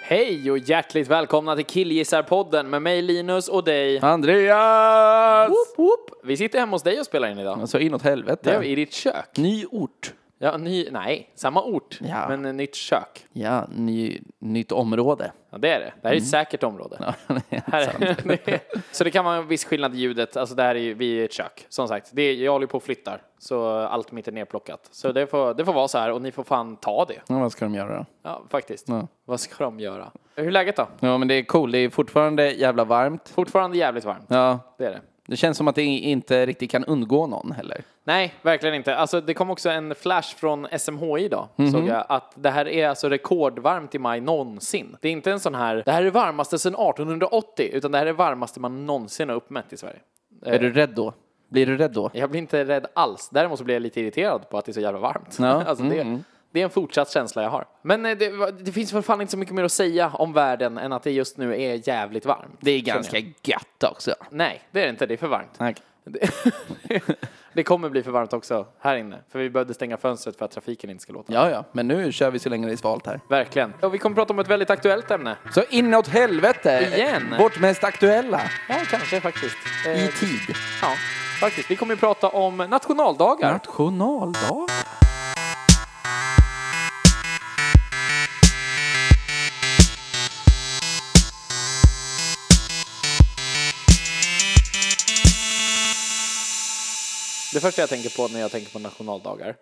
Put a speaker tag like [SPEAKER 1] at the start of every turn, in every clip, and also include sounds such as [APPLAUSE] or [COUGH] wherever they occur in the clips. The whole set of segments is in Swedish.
[SPEAKER 1] Hej och hjärtligt välkomna till Killgissarpodden med mig Linus och dig.
[SPEAKER 2] Andreas!
[SPEAKER 1] Woop, woop. Vi sitter hemma hos dig och spelar in idag.
[SPEAKER 2] Alltså inåt
[SPEAKER 1] Det
[SPEAKER 2] helvete.
[SPEAKER 1] gör vi i ditt kök.
[SPEAKER 2] Ny ort.
[SPEAKER 1] Ja, ny, nej, samma ort,
[SPEAKER 2] Ja.
[SPEAKER 1] men ett nytt kök.
[SPEAKER 2] Ja, ny, nytt område.
[SPEAKER 1] Ja, det är det. Det här är
[SPEAKER 2] Mm.
[SPEAKER 1] ett säkert område.
[SPEAKER 2] [LAUGHS]
[SPEAKER 1] Här, [LAUGHS] det är- så det kan vara en viss skillnad i ljudet. Alltså det här är ju, vi är ett kök. Som sagt, det är, jag håller ju på och flyttar. Så allt mitt är nerplockat. Så det får, det får vara så här och ni får fan ta det.
[SPEAKER 2] Ja, vad ska de göra då?
[SPEAKER 1] Ja, faktiskt.
[SPEAKER 2] Ja.
[SPEAKER 1] Vad ska de göra? Hur är läget då?
[SPEAKER 2] Ja, men det är cool. Det är fortfarande jävla varmt.
[SPEAKER 1] Fortfarande jävligt varmt.
[SPEAKER 2] Ja,
[SPEAKER 1] Det är det.
[SPEAKER 2] det känns som att det inte riktigt kan undgå någon heller.
[SPEAKER 1] Nej, verkligen inte. Alltså, det kom också en flash från SMHI idag,
[SPEAKER 2] Mhm.
[SPEAKER 1] såg jag, att det här är alltså rekordvarmt i maj någonsin. Det är inte en sån här, det här är det varmaste sedan 1880, utan det här är det varmaste man någonsin har uppmätt i Sverige.
[SPEAKER 2] Är du rädd då? Blir du rädd då?
[SPEAKER 1] Jag blir inte rädd alls, däremot så blir jag lite irriterad på att det är så jävla varmt.
[SPEAKER 2] Ja,
[SPEAKER 1] [LAUGHS]
[SPEAKER 2] Mm.
[SPEAKER 1] alltså, det, det är en fortsatt känsla jag har. Men eh, det, var- det finns för fan inte så mycket mer att säga om världen än att det just nu är jävligt varmt.
[SPEAKER 2] Det är
[SPEAKER 1] känner
[SPEAKER 2] ganska
[SPEAKER 1] jag.
[SPEAKER 2] gött också.
[SPEAKER 1] Nej, det är det inte. Det är för varmt.
[SPEAKER 2] Tack.
[SPEAKER 1] Det, det kommer bli för varmt också här inne. För vi behövde stänga fönstret för att trafiken inte ska låta.
[SPEAKER 2] Ja, ja, men nu kör vi så länge det är svalt här.
[SPEAKER 1] Verkligen. Och vi kommer prata om ett väldigt aktuellt ämne.
[SPEAKER 2] Så inåt helvete!
[SPEAKER 1] Igen?
[SPEAKER 2] Vårt mest aktuella.
[SPEAKER 1] Ja, kanske faktiskt. Eh,
[SPEAKER 2] I tid.
[SPEAKER 1] ja, faktiskt. Vi kommer ju prata om nationaldagar.
[SPEAKER 2] Nationaldag?
[SPEAKER 1] Det första jag tänker på när jag tänker på nationaldagar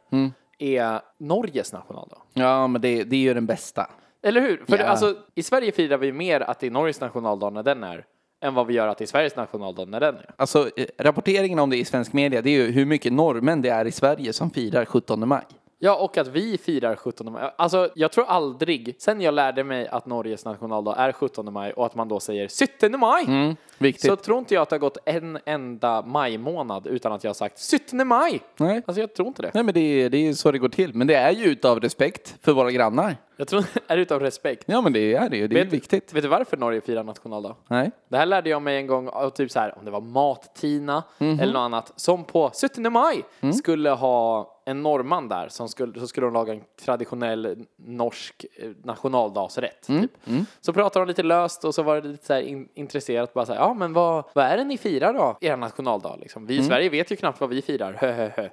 [SPEAKER 1] är Norges nationaldag.
[SPEAKER 2] Ja, men det, det är ju den bästa.
[SPEAKER 1] Eller hur? För
[SPEAKER 2] Ja.
[SPEAKER 1] det, alltså, i Sverige firar vi mer att det är Norges nationaldag när den är än vad vi gör att det är Sveriges nationaldag när den är.
[SPEAKER 2] Alltså, eh, rapporteringen om det i svensk media, det är ju hur mycket norrmän det är i Sverige som firar 17 maj.
[SPEAKER 1] Ja, och att vi firar 17 maj. Alltså, jag tror aldrig, sen jag lärde mig att Norges nationaldag är 17 maj och att man då säger 17 maj,
[SPEAKER 2] Viktigt.
[SPEAKER 1] så tror inte jag att det har gått en enda majmånad utan att jag har sagt 17 maj.
[SPEAKER 2] Nej.
[SPEAKER 1] Alltså, jag tror inte det.
[SPEAKER 2] Nej, men det är, det är ju så det går till. Men det är ju utav respekt för våra grannar.
[SPEAKER 1] Jag tror, [LAUGHS] är det utav respekt?
[SPEAKER 2] Ja, men det är det ju. Det är
[SPEAKER 1] Vet-
[SPEAKER 2] viktigt.
[SPEAKER 1] Vet du varför Norge firar nationaldag?
[SPEAKER 2] Nej.
[SPEAKER 1] Det här lärde jag mig en gång av typ så här, om det var Mattina eller något annat, som på 17 maj skulle ha en norrman där som skulle, så skulle de laga en traditionell norsk eh, nationaldagsrätt. Typ. Så pratade de lite löst och så var det lite så här in, intresserat bara så här, ja men vad, vad är det ni firar då? Er nationaldag liksom. Vi i Sverige vet ju knappt vad vi firar, hö hö hö.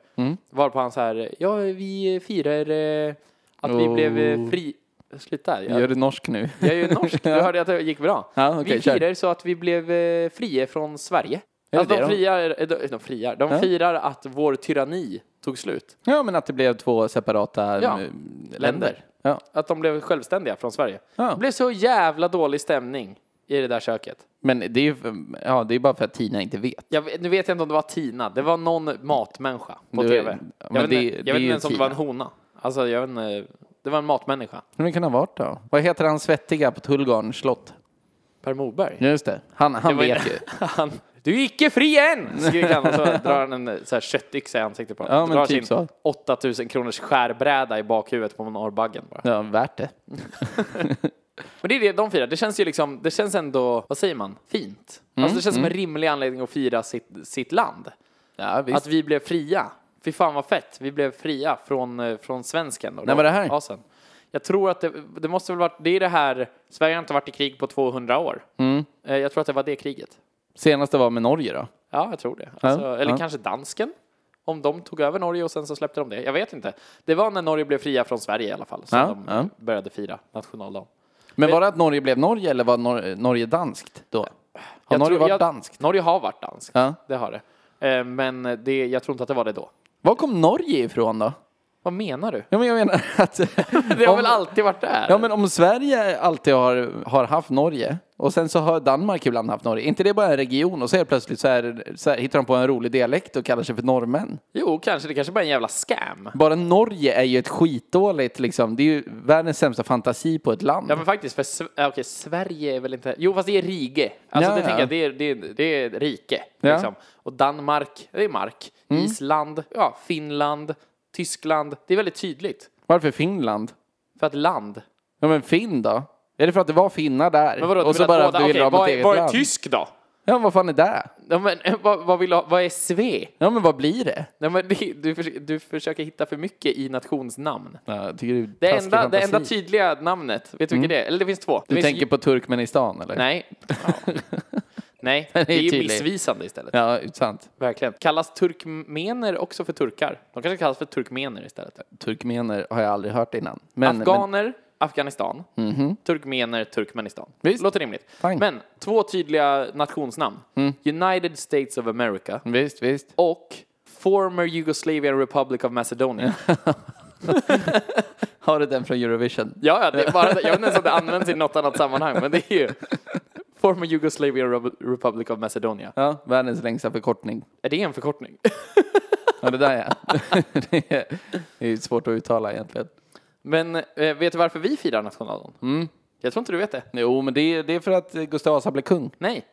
[SPEAKER 1] Varpå han så här, ja vi firar eh, att vi
[SPEAKER 2] Oh.
[SPEAKER 1] blev eh, fri... Sluta, jag,
[SPEAKER 2] Gör det norsk nu. [LAUGHS]
[SPEAKER 1] jag är ju norsk, du hörde att det gick bra.
[SPEAKER 2] Ja, okej,
[SPEAKER 1] vi
[SPEAKER 2] kör.
[SPEAKER 1] firar så att vi blev eh, fria från Sverige.
[SPEAKER 2] det
[SPEAKER 1] Alltså
[SPEAKER 2] det
[SPEAKER 1] de,
[SPEAKER 2] de-
[SPEAKER 1] friar, eh, de, de, friar, de
[SPEAKER 2] Ja.
[SPEAKER 1] firar att vår tyranni tog slut.
[SPEAKER 2] Ja, men att det blev två separata
[SPEAKER 1] Ja.
[SPEAKER 2] mm, länder. Ja.
[SPEAKER 1] Att de blev självständiga från Sverige.
[SPEAKER 2] Ja.
[SPEAKER 1] Det blev så jävla dålig stämning i det där köket.
[SPEAKER 2] Men det är ju ja, det är bara för att Tina inte vet.
[SPEAKER 1] Jag, vet- nu vet jag inte om det var Tina, det var någon matmänniska på
[SPEAKER 2] Du-
[SPEAKER 1] tv.
[SPEAKER 2] men
[SPEAKER 1] Jag vet,
[SPEAKER 2] det-
[SPEAKER 1] inte-
[SPEAKER 2] det
[SPEAKER 1] jag
[SPEAKER 2] är
[SPEAKER 1] vet
[SPEAKER 2] ju
[SPEAKER 1] inte ens om det var en
[SPEAKER 2] Tina.
[SPEAKER 1] hona. Alltså jag vet inte, det var en matmänniska.
[SPEAKER 2] Hur det kan ha varit då? Vad heter han svettiga på Tullgarns slott?
[SPEAKER 1] Per Morberg.
[SPEAKER 2] Just det. Han, han
[SPEAKER 1] Det var
[SPEAKER 2] vet
[SPEAKER 1] inte-
[SPEAKER 2] ju.
[SPEAKER 1] Han, du är icke fri än!
[SPEAKER 2] [LAUGHS]
[SPEAKER 1] Skriker han och så drar han en eh, så här köttyxa i ansiktet på honom.
[SPEAKER 2] Ja, men
[SPEAKER 1] drar
[SPEAKER 2] typ så.
[SPEAKER 1] sin 8000 kronors skärbräda i bakhuvudet på norrbaggen bara.
[SPEAKER 2] [LAUGHS] Ja, värt det.
[SPEAKER 1] Men det är det de firar. Det känns ju liksom, det känns ändå, vad säger man, fint.
[SPEAKER 2] Mm,
[SPEAKER 1] alltså det känns som en rimlig anledning att fira sitt, sitt land.
[SPEAKER 2] Ja, visst.
[SPEAKER 1] Att vi blev fria. Fy fan vad fett, vi blev fria från, eh, från svensken.
[SPEAKER 2] När var det här?
[SPEAKER 1] Asen. Jag tror att det, det måste väl varit, det är det här, Sverige har inte varit i krig på 200 år.
[SPEAKER 2] Mm.
[SPEAKER 1] Eh, Jag tror att det var det kriget.
[SPEAKER 2] Senaste var med Norge då.
[SPEAKER 1] Ja, jag tror det. Alltså,
[SPEAKER 2] Ja,
[SPEAKER 1] eller
[SPEAKER 2] ja.
[SPEAKER 1] kanske dansken. Om de tog över Norge och sen så släppte de det. Jag vet inte. Det var när Norge blev fria från Sverige i alla fall som
[SPEAKER 2] Ja,
[SPEAKER 1] de
[SPEAKER 2] ja.
[SPEAKER 1] började fira nationaldagen. Eh.
[SPEAKER 2] Men var det att Norge blev Norge eller var Nor- Norge danskt då? Har
[SPEAKER 1] Jag
[SPEAKER 2] Norge
[SPEAKER 1] tror-
[SPEAKER 2] varit
[SPEAKER 1] jag-
[SPEAKER 2] danskt?
[SPEAKER 1] Norge har varit danskt.
[SPEAKER 2] Ja.
[SPEAKER 1] Det har det. Eh, Men det, jag tror inte att det var det då.
[SPEAKER 2] Var kom Norge ifrån då?
[SPEAKER 1] Vad menar du?
[SPEAKER 2] Ja, men jag menar [LAUGHS] att...
[SPEAKER 1] [LAUGHS] Det har
[SPEAKER 2] om-
[SPEAKER 1] väl alltid varit där?
[SPEAKER 2] Ja, men om Sverige alltid har, har haft Norge och sen så har Danmark ibland haft Norge. Är inte det bara en region och så helt plötsligt så, är, så här, hittar de på en rolig dialekt och kallar sig för norrmän.
[SPEAKER 1] Jo, kanske. Det kanske bara är en jävla scam.
[SPEAKER 2] Bara Norge är ju ett skitdåligt liksom. Det är ju världens sämsta fantasi på ett land.
[SPEAKER 1] Ja, men faktiskt. För Sve- ja, okej, Sverige är väl inte... Jo, fast det är Rige. Alltså,
[SPEAKER 2] Ja,
[SPEAKER 1] det
[SPEAKER 2] ja.
[SPEAKER 1] tänker jag, det är, det är, det är rike.
[SPEAKER 2] Ja. Mm.
[SPEAKER 1] Liksom. Och Danmark, det är mark. Island, ja, Finland, Tyskland. Det är väldigt tydligt.
[SPEAKER 2] Varför Finland?
[SPEAKER 1] För att land.
[SPEAKER 2] Ja men Finn då? Är det för att det var finnar där?
[SPEAKER 1] Men vadå, du
[SPEAKER 2] och så
[SPEAKER 1] menar
[SPEAKER 2] bara
[SPEAKER 1] båda-
[SPEAKER 2] vill de
[SPEAKER 1] okej,
[SPEAKER 2] ha
[SPEAKER 1] vad,
[SPEAKER 2] ett
[SPEAKER 1] är,
[SPEAKER 2] eget
[SPEAKER 1] vad är
[SPEAKER 2] land?
[SPEAKER 1] tysk då?
[SPEAKER 2] Ja vad fan är det?
[SPEAKER 1] Ja, men, eh, vad, vad, vill, du ha- vad är sve?
[SPEAKER 2] Ja men vad blir det?
[SPEAKER 1] Nej, men, det- du, förs- du försöker hitta för mycket i nationsnamn.
[SPEAKER 2] Ja, jag tycker det typ- är
[SPEAKER 1] Det
[SPEAKER 2] taskig
[SPEAKER 1] enda, det
[SPEAKER 2] fantasi. Mm.
[SPEAKER 1] enda tydliga namnet, vet du vilket det är? Eller det finns två. Det
[SPEAKER 2] Du
[SPEAKER 1] finns
[SPEAKER 2] tänker på Turkmenistan eller? [LAUGHS]
[SPEAKER 1] Nej. Nej, det
[SPEAKER 2] är
[SPEAKER 1] är ju
[SPEAKER 2] tydlig.
[SPEAKER 1] missvisande istället.
[SPEAKER 2] Ja, sant.
[SPEAKER 1] Verkligen. Kallas turkmener också för turkar? De kanske kallas för turkmener istället.
[SPEAKER 2] Turkmener har jag aldrig hört innan. Men, men
[SPEAKER 1] Afghaner, Afghanistan. Turkmener, Turkmenistan.
[SPEAKER 2] Visst.
[SPEAKER 1] Låter rimligt.
[SPEAKER 2] Fine. Mm.
[SPEAKER 1] Men två tydliga nationsnamn. United States of America
[SPEAKER 2] visst, visst.
[SPEAKER 1] och Former Yugoslavian Republic of Macedonia.
[SPEAKER 2] Har du den från Eurovision?
[SPEAKER 1] Ja, ja, det är bara, jag vet inte ens om det används i något annat sammanhang, men det är ju [LAUGHS] Former Yugoslavian Rub- Republic of Macedonia.
[SPEAKER 2] Ja, världens längsta förkortning.
[SPEAKER 1] Är det en förkortning?
[SPEAKER 2] Ja, det där ja. [LAUGHS] det är- det är svårt att uttala egentligen.
[SPEAKER 1] Men eh, vet du varför vi firar nationaldagen?
[SPEAKER 2] Mm.
[SPEAKER 1] Jag tror inte du vet det.
[SPEAKER 2] Jo, men det är, det är för att eh, Gustav Vasa blev kung.
[SPEAKER 1] Nej.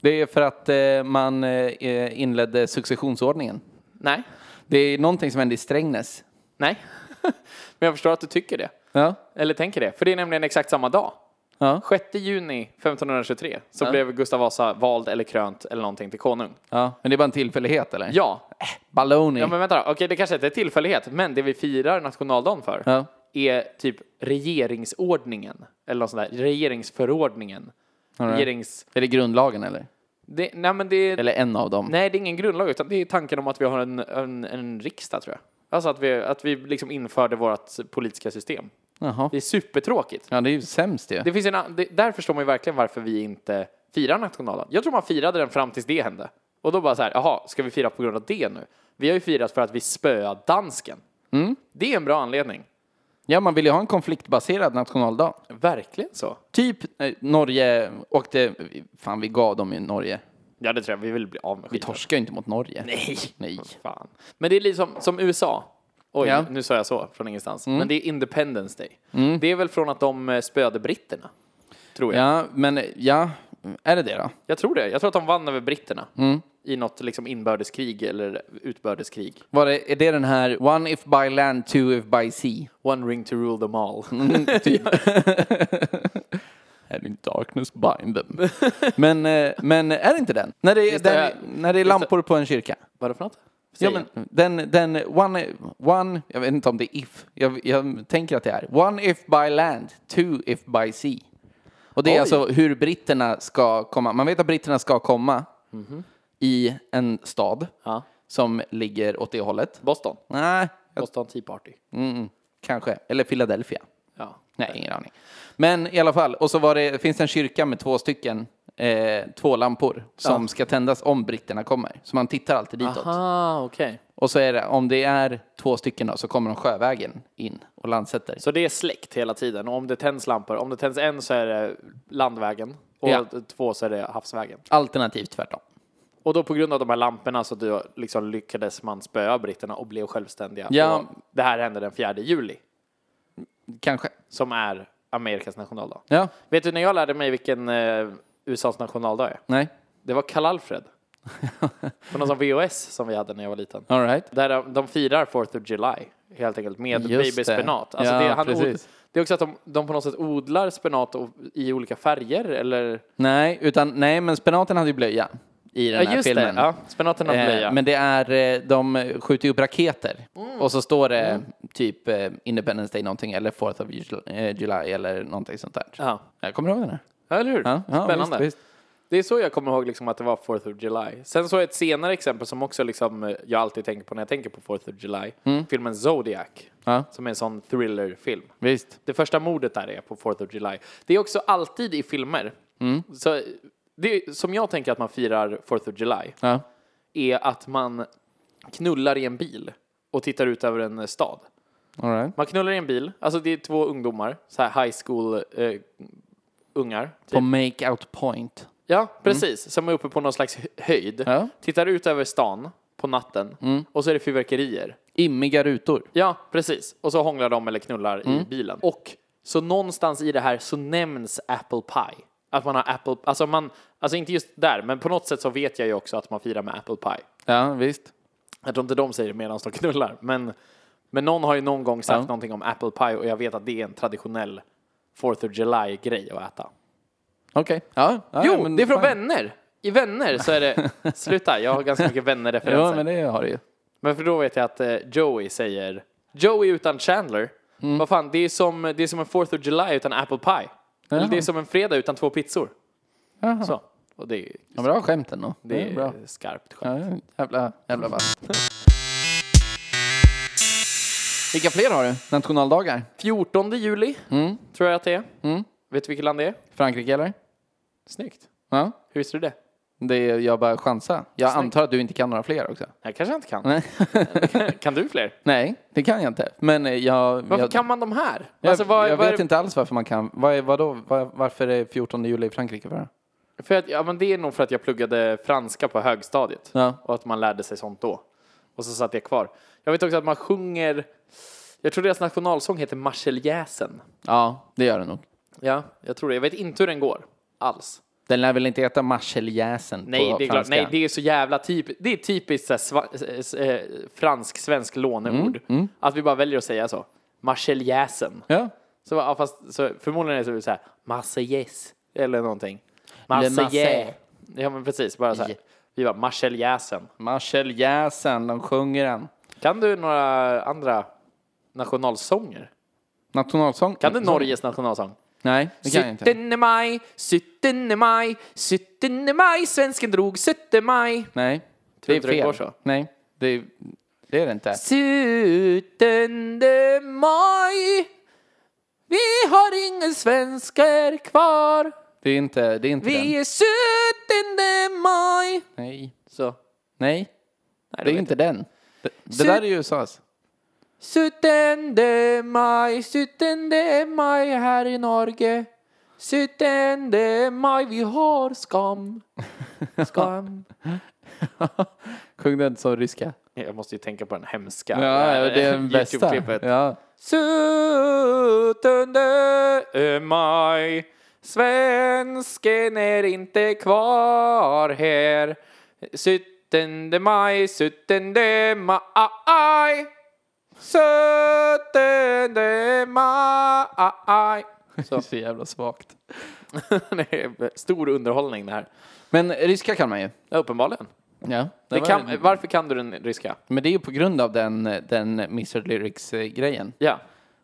[SPEAKER 2] Det är för att eh, man eh, inledde successionsordningen.
[SPEAKER 1] Nej.
[SPEAKER 2] Det är någonting som hände i Strängnäs.
[SPEAKER 1] Nej. [LAUGHS] Men jag förstår att du tycker det.
[SPEAKER 2] Ja.
[SPEAKER 1] Eller tänker det. För det är nämligen exakt samma dag.
[SPEAKER 2] Ja.
[SPEAKER 1] 6 juni 1523 så blev Gustav Vasa vald eller krönt eller någonting till konung.
[SPEAKER 2] ja. Men det är bara en tillfällighet eller?
[SPEAKER 1] Ja.
[SPEAKER 2] Baloney.
[SPEAKER 1] Ja men vänta då. Okej det kanske inte är tillfällighet. Men det vi firar nationaldagen för
[SPEAKER 2] Ja.
[SPEAKER 1] är typ regeringsordningen. Eller något sånt där. Regeringsförordningen. Regerings...
[SPEAKER 2] Är det grundlagen eller?
[SPEAKER 1] Det, nej men det är...
[SPEAKER 2] Eller en av dem?
[SPEAKER 1] Nej, det är ingen grundlag, utan det är tanken om att vi har en, en, en riksdag, tror jag. Alltså att vi, att vi liksom införde vårt politiska system.
[SPEAKER 2] Jaha.
[SPEAKER 1] Det är supertråkigt.
[SPEAKER 2] Ja, det är ju sämst ju.
[SPEAKER 1] Det finns en, an- det, där förstår man ju verkligen varför vi inte firar nationaldagen. Jag tror man firade den fram tills det hände. Och då bara så här, jaha, ska vi fira på grund av det nu? Vi har ju firat för att vi spöade dansken. Det är en bra anledning.
[SPEAKER 2] Ja, man vill ju ha en konfliktbaserad nationaldag.
[SPEAKER 1] Verkligen så.
[SPEAKER 2] Typ eh, Norge åkte... Fan, vi gav dem ju Norge.
[SPEAKER 1] Ja, det tror jag. Vi vill bli av med
[SPEAKER 2] Vi
[SPEAKER 1] skiten.
[SPEAKER 2] torskar ju inte mot Norge.
[SPEAKER 1] Nej.
[SPEAKER 2] Nej.
[SPEAKER 1] Fan. Men det är liksom som USA. Oj,
[SPEAKER 2] Ja.
[SPEAKER 1] nu sa jag så från ingenstans. Men det är Independence Day. Det är väl från att de eh, spöade britterna. Tror jag.
[SPEAKER 2] Ja, men eh, ja. Är det det då?
[SPEAKER 1] Jag tror det. Jag tror att de vann över britterna. I något liksom inbördeskrig eller utbördeskrig.
[SPEAKER 2] Var det, är det den här One if by land, two if by sea?
[SPEAKER 1] [LAUGHS]
[SPEAKER 2] Typ.
[SPEAKER 1] One ring to rule them all.
[SPEAKER 2] [LAUGHS] And in darkness bind them. men, eh, men är det inte den? När det, är-
[SPEAKER 1] Just det,
[SPEAKER 2] där-
[SPEAKER 1] ja.
[SPEAKER 2] när det är lampor på en kyrka?
[SPEAKER 1] Vad är det för något?
[SPEAKER 2] Ja,
[SPEAKER 1] Säg
[SPEAKER 2] men
[SPEAKER 1] igen.
[SPEAKER 2] den, den one, one, jag vet inte om det är if, jag, jag tänker att det är one if by land, two if by sea. Och det är
[SPEAKER 1] Oj.
[SPEAKER 2] alltså hur britterna ska komma, man vet att britterna ska komma i en stad
[SPEAKER 1] Ja.
[SPEAKER 2] som ligger åt det hållet.
[SPEAKER 1] Boston.
[SPEAKER 2] Nej,
[SPEAKER 1] Boston Tea Party.
[SPEAKER 2] kanske, eller Philadelphia.
[SPEAKER 1] Ja.
[SPEAKER 2] Nej, ingen aning. Men i alla fall, och så var det, finns det en kyrka med två stycken, eh, två lampor som ska tändas om britterna kommer. Så man tittar alltid ditåt.
[SPEAKER 1] Ah, okej.
[SPEAKER 2] Och så är det, om det är två stycken då, så kommer de sjövägen in och landsätter.
[SPEAKER 1] Så det är släkt hela tiden. Och om det tänds lampor, om det tänds en så är det landvägen. Och
[SPEAKER 2] Ja.
[SPEAKER 1] två så är det havsvägen.
[SPEAKER 2] Alternativt tvärtom.
[SPEAKER 1] Och då på grund av de här lamporna så då liksom lyckades man spöa britterna och blev självständiga.
[SPEAKER 2] Ja.
[SPEAKER 1] Och det här hände den 4 juli,
[SPEAKER 2] Kanske.
[SPEAKER 1] som är Amerikas nationaldag.
[SPEAKER 2] Ja.
[SPEAKER 1] Vet du när jag lärde mig vilken eh, USAs nationaldag är?
[SPEAKER 2] Nej.
[SPEAKER 1] Det var
[SPEAKER 2] [LAUGHS]
[SPEAKER 1] Karl-Alfred. På någon sån VHS som vi hade när jag var liten.
[SPEAKER 2] All right.
[SPEAKER 1] Där de, de firar 4th of July, helt enkelt,
[SPEAKER 2] Just
[SPEAKER 1] med
[SPEAKER 2] det.
[SPEAKER 1] babyspenat. Alltså
[SPEAKER 2] Ja,
[SPEAKER 1] det, han od,
[SPEAKER 2] precis.
[SPEAKER 1] det är också att de, de på något sätt odlar spenat och, i olika färger, eller?
[SPEAKER 2] Nej, utan, nej, men spenaten hade ju blöja i den
[SPEAKER 1] Ja,
[SPEAKER 2] här
[SPEAKER 1] just
[SPEAKER 2] filmen.
[SPEAKER 1] det. Ja, spenaten har blöja. Mm.
[SPEAKER 2] Eh, men det är, eh, de skjuter ju upp raketer och så står det typ eh, Independence Day någonting eller 4th of Ju- eh, July eller någonting sånt där.
[SPEAKER 1] ja.
[SPEAKER 2] Jag kommer ihåg den här.
[SPEAKER 1] Eller hur?
[SPEAKER 2] Ja, ja,
[SPEAKER 1] Spännande.
[SPEAKER 2] visst, visst.
[SPEAKER 1] Det är så jag kommer ihåg liksom att det var 4th of July. Sen så ett senare exempel som också liksom eh, jag alltid tänker på när jag tänker på 4th of July. Filmen Zodiac,
[SPEAKER 2] Mm. Ja.
[SPEAKER 1] som är en sån thrillerfilm.
[SPEAKER 2] Visst.
[SPEAKER 1] Det första mordet där är på 4th of July. Det är också alltid i filmer. Så det är, som jag tänker att man firar 4th of July
[SPEAKER 2] Ja.
[SPEAKER 1] är att man knullar i en bil och och tittar ut över en eh, stad.
[SPEAKER 2] All right.
[SPEAKER 1] Man knullar i en bil, alltså det är två ungdomar, så här high school eh, ungar.
[SPEAKER 2] På
[SPEAKER 1] Typ.
[SPEAKER 2] make out point.
[SPEAKER 1] Ja, precis. Som är uppe på någon slags hö- höjd.
[SPEAKER 2] Ja.
[SPEAKER 1] Tittar ut över stan på natten och så är det fyrverkerier.
[SPEAKER 2] Immiga rutor.
[SPEAKER 1] Ja, precis. Och så hånglar de eller knullar
[SPEAKER 2] Mm.
[SPEAKER 1] i bilen. Och så någonstans i det här så nämns apple pie. Att man har apple, alltså man, alltså inte just där, men på något sätt så vet jag ju också att man firar med apple pie.
[SPEAKER 2] Ja, visst.
[SPEAKER 1] Jag tror inte de säger det medan de knullar, men, men någon har ju någon gång sagt
[SPEAKER 2] Ja.
[SPEAKER 1] någonting om apple pie och jag vet att det är en traditionell 4th of July-grej att äta.
[SPEAKER 2] Okej. Ja, ja,
[SPEAKER 1] jo,
[SPEAKER 2] ja, men
[SPEAKER 1] det är från
[SPEAKER 2] fine.
[SPEAKER 1] vänner! I vänner så är
[SPEAKER 2] [LAUGHS]
[SPEAKER 1] det, sluta, jag har ganska mycket vänner-referenser.
[SPEAKER 2] Ja, men det har det ju.
[SPEAKER 1] Men för då vet jag att eh, Joey säger Joey utan Chandler.
[SPEAKER 2] Mm.
[SPEAKER 1] Vad fan, det är, som, det är som en 4th of July utan apple pie. Eller det är som en fredag utan två pizzor.
[SPEAKER 2] Jaha.
[SPEAKER 1] Så. Och det är,
[SPEAKER 2] Ja, bra skämt ändå.
[SPEAKER 1] det
[SPEAKER 2] Det
[SPEAKER 1] är
[SPEAKER 2] är bra.
[SPEAKER 1] skarpt skämt.
[SPEAKER 2] Ja, jävla, jävla
[SPEAKER 1] [LAUGHS]
[SPEAKER 2] vass. Vilka fler har du? Nationaldagar?
[SPEAKER 1] 14 juli
[SPEAKER 2] Mm.
[SPEAKER 1] tror jag att det är. Vet du vilket land det är?
[SPEAKER 2] Frankrike eller?
[SPEAKER 1] Snyggt.
[SPEAKER 2] Ja.
[SPEAKER 1] Hur visste du det?
[SPEAKER 2] Det är, jag bara chansar. Jag antar att du inte kan några fler också.
[SPEAKER 1] Jag kanske inte kan.
[SPEAKER 2] Nej.
[SPEAKER 1] [LAUGHS] kan du fler?
[SPEAKER 2] Nej, det kan jag inte. Men eh, jag...
[SPEAKER 1] Varför
[SPEAKER 2] jag,
[SPEAKER 1] kan man de här?
[SPEAKER 2] jag,
[SPEAKER 1] Alltså, vad-
[SPEAKER 2] jag
[SPEAKER 1] vad är
[SPEAKER 2] vet
[SPEAKER 1] det-
[SPEAKER 2] inte alls varför man kan. Vad är, vadå, Vad- varför är 14 juli i Frankrike? För?
[SPEAKER 1] För att, ja, men det är nog för att jag pluggade franska på högstadiet.
[SPEAKER 2] Ja.
[SPEAKER 1] Och att man lärde sig sånt då. Och så satt det kvar. Jag vet också att man sjunger, jag tror deras nationalsång heter Marseljäsen.
[SPEAKER 2] Ja, det gör det nog.
[SPEAKER 1] Ja, jag tror det. Jag vet inte hur den går. Alls.
[SPEAKER 2] Den lär väl inte heta Marseljäsen på
[SPEAKER 1] Nej, det är, klart,
[SPEAKER 2] franska?
[SPEAKER 1] nej, det är så jävla typ, det är typiskt så här sva- eh, s- eh, fransk-svensk låneord.
[SPEAKER 2] Mm,
[SPEAKER 1] Att vi bara väljer att säga så. Marseljäsen.
[SPEAKER 2] Ja.
[SPEAKER 1] Så, ja, fast, så förmodligen är det så här Marseillaise eller någonting.
[SPEAKER 2] Marseille.
[SPEAKER 1] Marseille. Ja men precis, bara så här. Vi bara Marseljäsen.
[SPEAKER 2] Marseljäsen, de sjunger den.
[SPEAKER 1] Kan du några andra nationalsånger?
[SPEAKER 2] Nationalsång?
[SPEAKER 1] Kan du Norges nationalsång?
[SPEAKER 2] Nej, det kan jag inte.
[SPEAKER 1] 17 maj, 17 maj, 17 maj, svensken drog 17 maj.
[SPEAKER 2] Nej, det
[SPEAKER 1] Tror
[SPEAKER 2] är
[SPEAKER 1] inte det
[SPEAKER 2] fel.
[SPEAKER 1] går så?
[SPEAKER 2] Nej, det är, det är det inte.
[SPEAKER 1] 17 maj, vi har inga svenskar kvar.
[SPEAKER 2] Det är inte, det är inte
[SPEAKER 1] Vi
[SPEAKER 2] den.
[SPEAKER 1] är 17 maj.
[SPEAKER 2] Nej.
[SPEAKER 1] Så.
[SPEAKER 2] Nej, det är inte den. Det, det
[SPEAKER 1] Sut-
[SPEAKER 2] där är ju USAs.
[SPEAKER 1] 17 maj, 17 maj här i Norge. 17 maj, vi
[SPEAKER 2] [LAUGHS]
[SPEAKER 1] har skam. Skam.
[SPEAKER 2] Sjung den som ryska.
[SPEAKER 1] Jag måste ju tänka på den hemska.
[SPEAKER 2] Ja, det är den bästa.
[SPEAKER 1] YouTube-klippet.
[SPEAKER 2] Ja.
[SPEAKER 1] 17 maj, svensken är inte kvar här. 17 maj, 17 maj. 17 maj.
[SPEAKER 2] Det
[SPEAKER 1] Så,
[SPEAKER 2] är [LAUGHS] så jävla svagt.
[SPEAKER 1] [LAUGHS] det är stor underhållning det här.
[SPEAKER 2] Men ryska kan man ju.
[SPEAKER 1] Ja, uppenbarligen.
[SPEAKER 2] Ja,
[SPEAKER 1] Det kan, varför kan du den ryska?
[SPEAKER 2] Men det är ju på grund av den, den eh, Mr. Lyrics-grejen.
[SPEAKER 1] Ja.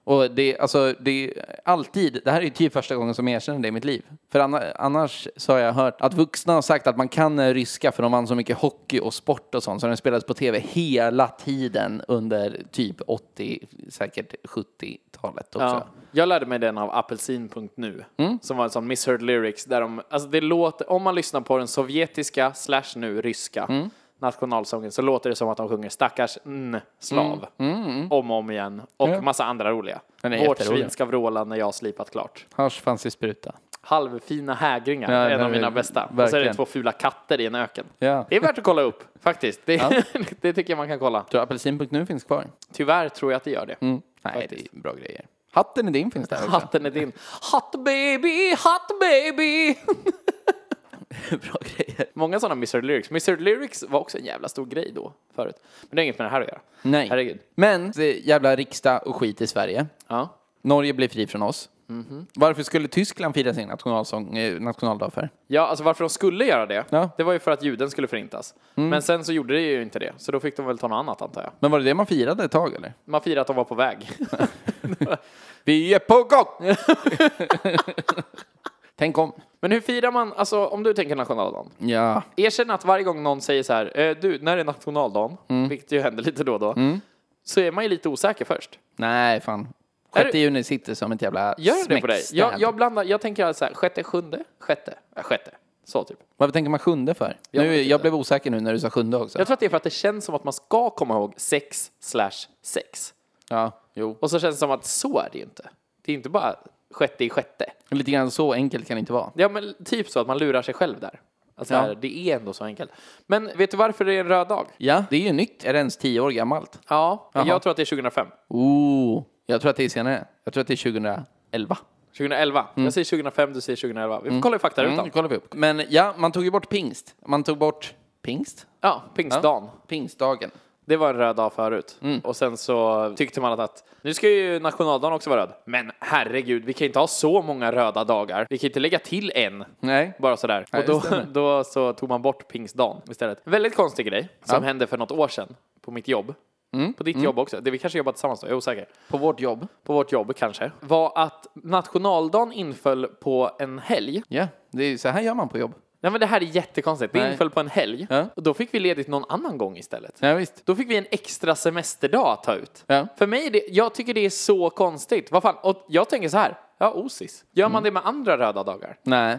[SPEAKER 2] Och det, alltså, det är alltid, det här är ju typ första gången som jag erkänner det i mitt liv. För anna- annars så har jag hört att vuxna har sagt att man kan eh, ryska för de vann så mycket hockey och sport och sånt så den spelades på tv hela tiden under typ 80, säkert 70-talet också.
[SPEAKER 1] Ja. Jag lärde mig den av apelsin.nu
[SPEAKER 2] Mm.
[SPEAKER 1] som var en sån misheard lyrics där de, alltså det låter, om man lyssnar på den sovjetiska slash nu ryska
[SPEAKER 2] Mm.
[SPEAKER 1] nationalsången så låter det som att de sjunger stackars n slav
[SPEAKER 2] Mm.
[SPEAKER 1] om och om igen och massa andra roliga.
[SPEAKER 2] Den är
[SPEAKER 1] Vårt
[SPEAKER 2] jätterolig.
[SPEAKER 1] svin ska vråla när jag har slipat klart.
[SPEAKER 2] Hörs fanns i spruta.
[SPEAKER 1] Halvfina hägringar
[SPEAKER 2] Ja,
[SPEAKER 1] är en
[SPEAKER 2] den
[SPEAKER 1] av
[SPEAKER 2] är-
[SPEAKER 1] mina bästa. Och så är det
[SPEAKER 2] verkligen.
[SPEAKER 1] två fula katter i en öken.
[SPEAKER 2] Ja.
[SPEAKER 1] Det är värt att kolla upp faktiskt. Det, [LAUGHS] det tycker jag man kan kolla.
[SPEAKER 2] Tror du apelsin.nu finns kvar?
[SPEAKER 1] Tyvärr tror jag att det gör det.
[SPEAKER 2] Mm. Nej, det
[SPEAKER 1] Faktiskt.
[SPEAKER 2] är bra grejer. Hatten är din finns där också.
[SPEAKER 1] Hatten är din. Hot baby, hot baby.
[SPEAKER 2] bra grejer.
[SPEAKER 1] Många sådana Mr. Lyrics. Mr. Lyrics var också en jävla stor grej då, förut. Men det har inget med det här att göra.
[SPEAKER 2] Nej.
[SPEAKER 1] Herregud.
[SPEAKER 2] Men, det är jävla riksdag och skit i Sverige.
[SPEAKER 1] Ja.
[SPEAKER 2] Norge blir fri från oss.
[SPEAKER 1] Mhm.
[SPEAKER 2] Varför skulle Tyskland fira sin nationalsång, eh, nationaldag för?
[SPEAKER 1] ja, alltså varför de skulle göra det,
[SPEAKER 2] Ja. Mm.
[SPEAKER 1] det var ju för att juden skulle förintas. Men sen så gjorde det ju inte det, så då fick de väl ta något annat antar jag.
[SPEAKER 2] Men var det det man firade ett tag eller?
[SPEAKER 1] Man firade att de var på väg. [LAUGHS]
[SPEAKER 2] Vi är på gång! Tänk om.
[SPEAKER 1] Men hur firar man, alltså om du tänker nationaldagen.
[SPEAKER 2] Ja.
[SPEAKER 1] Erkänn att varje gång någon säger så här, eh, du, när är nationaldagen?
[SPEAKER 2] Mm.
[SPEAKER 1] Vilket ju händer lite då och då. Så är man ju lite osäker först.
[SPEAKER 2] Nej, fan.
[SPEAKER 1] Är
[SPEAKER 2] 6
[SPEAKER 1] det-
[SPEAKER 2] juni sitter som ett jävla
[SPEAKER 1] Gör det på dig?
[SPEAKER 2] smäckstäd.
[SPEAKER 1] Jag, jag blandar, jag tänker så här, sjätte, sjunde, sjätte, äh, sjätte. Så typ.
[SPEAKER 2] Varför tänker man sjunde för? Nu, jag blev osäker nu när du sa sjunde också.
[SPEAKER 1] Jag tror att det är för att det känns som att man ska komma ihåg 6 slash 6.
[SPEAKER 2] Ja, jo.
[SPEAKER 1] Och så känns det som att så är det ju inte. Det är inte bara sjätte i sjätte.
[SPEAKER 2] Lite grann så enkelt kan det inte vara.
[SPEAKER 1] Ja, men typ så att man lurar sig själv där. Alltså
[SPEAKER 2] Ja.
[SPEAKER 1] här, det är ändå så enkelt. Men vet du varför det är en röd dag?
[SPEAKER 2] Ja, det är ju nytt. Är det ens tio år gammalt?
[SPEAKER 1] Ja, men
[SPEAKER 2] Jaha.
[SPEAKER 1] jag tror att det är 2005.
[SPEAKER 2] Ooh, jag tror att det är senare. Jag tror att det är 2011.
[SPEAKER 1] 2011. Jag säger 2005, du säger 2011. Vi får kolla i faktarutan.
[SPEAKER 2] Mm, kollar vi upp. Men ja, man tog ju bort pingst. Man tog bort pingst?
[SPEAKER 1] Ja, pingstdagen.
[SPEAKER 2] Pingstdagen.
[SPEAKER 1] Det var en röd dag förut.
[SPEAKER 2] Mm.
[SPEAKER 1] Och sen så tyckte man att, att nu ska ju nationaldagen också vara röd. Men herregud, vi kan inte ha så många röda dagar. Vi kan inte lägga till en.
[SPEAKER 2] Nej.
[SPEAKER 1] Bara sådär.
[SPEAKER 2] Nej,
[SPEAKER 1] och då,
[SPEAKER 2] det stämmer.
[SPEAKER 1] [LAUGHS] då så tog man bort pingstdagen istället. Väldigt konstig grej som hände för något år sedan på mitt jobb.
[SPEAKER 2] Mm,
[SPEAKER 1] På ditt jobb också. Det vi kanske jobbar tillsammans då, jag är osäker.
[SPEAKER 2] På vårt jobb.
[SPEAKER 1] På vårt jobb kanske. Var att nationaldagen inföll på en helg.
[SPEAKER 2] Ja, det är ju så här gör man på jobb.
[SPEAKER 1] Nej men det här är jättekonstigt. Det
[SPEAKER 2] Nej.
[SPEAKER 1] inföll på en helg.
[SPEAKER 2] Ja.
[SPEAKER 1] Och då fick vi ledigt någon annan gång istället.
[SPEAKER 2] Ja, visst.
[SPEAKER 1] Då fick vi en extra semesterdag att ta ut.
[SPEAKER 2] Ja.
[SPEAKER 1] För mig, är det, jag tycker det är så konstigt. Vad fan, och jag tänker så här. Ja, osis. Gör man det med andra röda dagar?
[SPEAKER 2] Nej.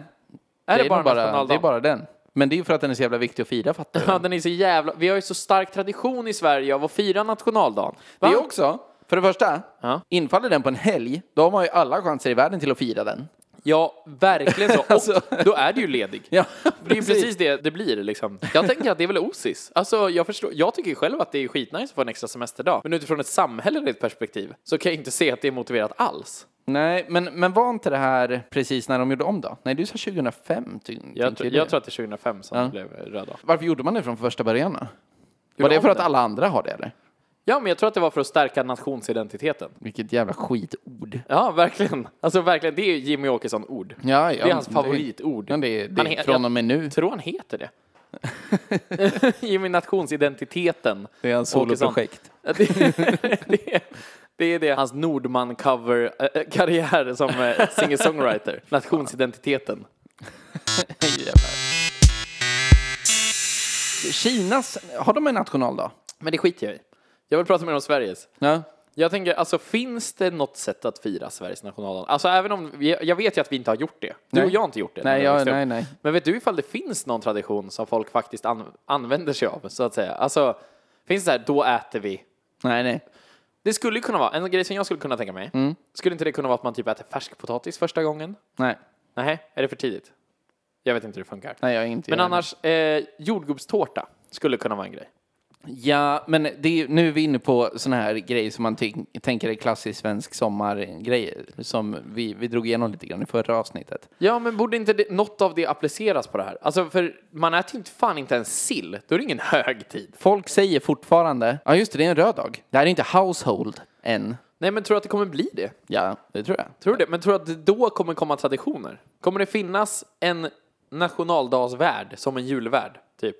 [SPEAKER 1] Är det,
[SPEAKER 2] nog
[SPEAKER 1] bara,
[SPEAKER 2] det Mm. är
[SPEAKER 1] nationaldagen?
[SPEAKER 2] bara den. Men det är ju för att den är så jävla viktig att fira, fattar du?
[SPEAKER 1] [CLEARS THROAT] Ja, den är så jävla... Vi har ju så stark tradition i Sverige av att fira nationaldagen. Va?
[SPEAKER 2] Det är också, för det första,
[SPEAKER 1] Ja.
[SPEAKER 2] infaller den på en helg, då har man ju alla chanser i världen till att fira den.
[SPEAKER 1] Ja,
[SPEAKER 2] [LAUGHS]
[SPEAKER 1] verkligen så. Och
[SPEAKER 2] Alltså-
[SPEAKER 1] då är du ju ledig.
[SPEAKER 2] Ja,
[SPEAKER 1] Det är ju precis det det blir liksom. Jag tänker att det är väl osis. Alltså, jag, förstår, jag tycker ju själv att det är skitnice att få en extra semesterdag. Men utifrån ett samhälleligt perspektiv så kan jag inte se att det är motiverat alls.
[SPEAKER 2] [LAUGHS] Nej, men, men var inte det här precis när de gjorde om då? Nej, du sa 2005. Ty,
[SPEAKER 1] Jag,
[SPEAKER 2] tänker
[SPEAKER 1] tror-
[SPEAKER 2] du.
[SPEAKER 1] jag tror att det är 2005 som det blev röd dag.
[SPEAKER 2] Varför gjorde man det från första början då? Var
[SPEAKER 1] Gjorde
[SPEAKER 2] det
[SPEAKER 1] om
[SPEAKER 2] för att
[SPEAKER 1] det?
[SPEAKER 2] alla andra har det eller?
[SPEAKER 1] Ja, men jag tror att det var för att stärka nationsidentiteten.
[SPEAKER 2] Vilket jävla skitord.
[SPEAKER 1] Ja, verkligen. Alltså verkligen, det är ju Jimmy Åkesson-ord.
[SPEAKER 2] Ja, ja,
[SPEAKER 1] det är hans
[SPEAKER 2] det-
[SPEAKER 1] favoritord.
[SPEAKER 2] Ja, det, det
[SPEAKER 1] Han
[SPEAKER 2] är
[SPEAKER 1] he-
[SPEAKER 2] från och med nu.
[SPEAKER 1] tror han
[SPEAKER 2] [LAUGHS]
[SPEAKER 1] heter det. Jimmy Nationsidentiteten.
[SPEAKER 2] Det är hans
[SPEAKER 1] Åkesson.
[SPEAKER 2] [LAUGHS] soloprojekt.
[SPEAKER 1] Ja, [LAUGHS] det, det, det är det hans Nordman-cover-karriär som eh,
[SPEAKER 2] [LAUGHS]
[SPEAKER 1] singer-songwriter. Nationsidentiteten.
[SPEAKER 2] Kinas, har de en nationaldag?
[SPEAKER 1] Men det skiter jag i. Jag vill prata mer om Sveriges.
[SPEAKER 2] Ja.
[SPEAKER 1] Jag tänker, alltså finns det något sätt att fira Sveriges nationaldag? Alltså även om, vi, jag vet ju att vi inte har gjort det. Du
[SPEAKER 2] Nej.
[SPEAKER 1] och jag har inte gjort det. när
[SPEAKER 2] Nej,
[SPEAKER 1] vi
[SPEAKER 2] jag-
[SPEAKER 1] växte upp.
[SPEAKER 2] nej, nej.
[SPEAKER 1] Men vet du ifall det finns någon tradition som folk faktiskt an, använder sig av, så att säga? Alltså, finns det så här, då äter vi
[SPEAKER 2] Nej, nej.
[SPEAKER 1] Det skulle ju kunna vara, en grej som jag skulle kunna tänka mig, skulle inte det kunna vara att man typ äter färskpotatis första gången?
[SPEAKER 2] Nej,
[SPEAKER 1] Nej, är det för tidigt? Jag vet inte hur det funkar.
[SPEAKER 2] nej jag är inte
[SPEAKER 1] Men
[SPEAKER 2] jag är-
[SPEAKER 1] annars, eh, jordgubbstårta skulle kunna vara en grej.
[SPEAKER 2] Ja, men det är, ju- nu är vi inne på såna här grejer som man ty- tänker är klassisk svensk sommargrejer. Som vi, vi drog igenom lite grann i förra avsnittet.
[SPEAKER 1] Ja, men borde inte det, något av det appliceras på det här? Alltså, för man äter ju inte fan inte ens sill. Då är det ingen [LAUGHS] högtid.
[SPEAKER 2] Folk säger fortfarande, ja just det, det är en röd dag. Det här är inte household än.
[SPEAKER 1] Nej, men tror du att det kommer bli det?
[SPEAKER 2] Ja, det tror jag.
[SPEAKER 1] Tror du det? Men tror du att det då kommer komma traditioner? Kommer det finnas en nationaldagsvärld som en julvärld, typ?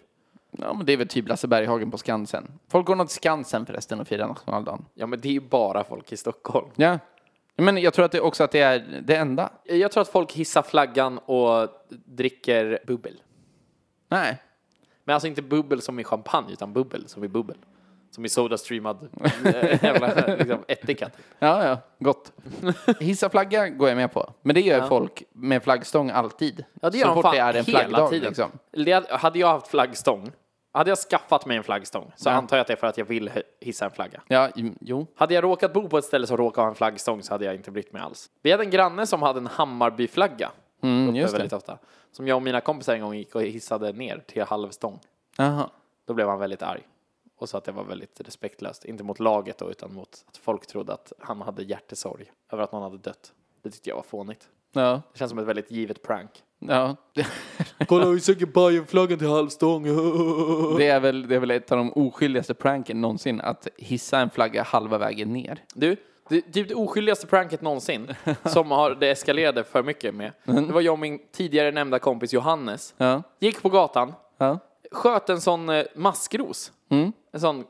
[SPEAKER 2] Ja, men det är väl typ Lasse Berghagen på Skansen. Folk går nog till Skansen förresten och firar nationaldagen.
[SPEAKER 1] Ja, men det är ju bara folk i Stockholm.
[SPEAKER 2] Ja. Men jag tror att det också att det är det enda.
[SPEAKER 1] Jag tror att folk hissar flaggan och dricker bubbel.
[SPEAKER 2] Nej.
[SPEAKER 1] Men alltså inte bubbel som i champagne, utan bubbel som i bubbel. Som i Sodastreamad [LAUGHS] eh, jävla liksom, ättika. typ.
[SPEAKER 2] Ja, ja, gott. Hissa flagga går jag med på. Men det gör folk med flaggstång alltid.
[SPEAKER 1] Ja, det
[SPEAKER 2] Så
[SPEAKER 1] gör de
[SPEAKER 2] fort
[SPEAKER 1] fan
[SPEAKER 2] det är en
[SPEAKER 1] hela
[SPEAKER 2] flaggdag
[SPEAKER 1] tiden.
[SPEAKER 2] liksom.
[SPEAKER 1] Det hade- Hade jag haft flaggstång, hade jag skaffat mig en flaggstång så antar jag att det är för att jag vill hö- hissa en flagga.
[SPEAKER 2] Ja, mm, jo.
[SPEAKER 1] Hade jag råkat bo på ett ställe som råkar ha en flaggstång så hade jag inte brytt mig alls. Vi hade en granne som hade en Hammarbyflagga.
[SPEAKER 2] Mm,
[SPEAKER 1] uppe
[SPEAKER 2] just det.
[SPEAKER 1] väldigt ofta. Som jag och mina kompisar en gång gick och hissade ner till halvstång.
[SPEAKER 2] Jaha.
[SPEAKER 1] Då blev han väldigt arg och sa att det var väldigt respektlöst. Inte mot laget då, utan mot att folk trodde att han hade hjärtesorg över att någon hade dött. Det tyckte jag var fånigt.
[SPEAKER 2] Ja.
[SPEAKER 1] Det känns som ett väldigt givet prank.
[SPEAKER 2] ja.
[SPEAKER 1] [LAUGHS] Kolla, vi söker Bajenflaggan till [LAUGHS] halvstång.
[SPEAKER 2] Det, är väl, det är väl ett av de oskyldigaste pranken någonsin. Att hissa en flagga halva vägen ner.
[SPEAKER 1] Du, det, typ det oskyldigaste pranket [LAUGHS] någonsin, som har, det eskalerade för mycket med, det var jag och min tidigare nämnda kompis Johannes.
[SPEAKER 2] Ja.
[SPEAKER 1] Gick på gatan,
[SPEAKER 2] Ja.
[SPEAKER 1] sköt en sån eh, maskros. En sån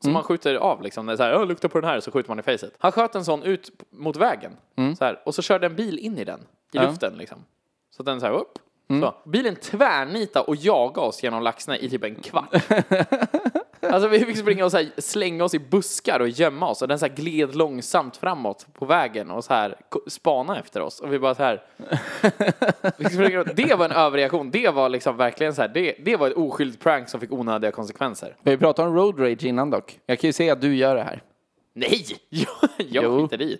[SPEAKER 1] som man skjuter av liksom. Det är så här, "Åh, lukta på den här så skjuter man i facet. Han sköt en sån ut p- mot vägen. Så här, och så körde en bil in i den. I luften liksom. Så att den så här upp. Så. Bilen tvärnita och jaga oss genom Laxne i typ en kvart. Alltså vi fick springa och så här, slänga oss i buskar och gömma oss och den så här gled långsamt framåt på vägen och så här ko- spana efter oss och vi bara så här. Vi fick springa runt. [LAUGHS] det var en överreaktion. Det var liksom verkligen så här. Det, det var ett oskyldigt prank som fick onödiga konsekvenser.
[SPEAKER 2] Vi pratade om road rage innan dock. Jag kan ju säga att du gör det här.
[SPEAKER 1] Nej, [LAUGHS] jag, jag
[SPEAKER 2] Jo.
[SPEAKER 1] skiter i.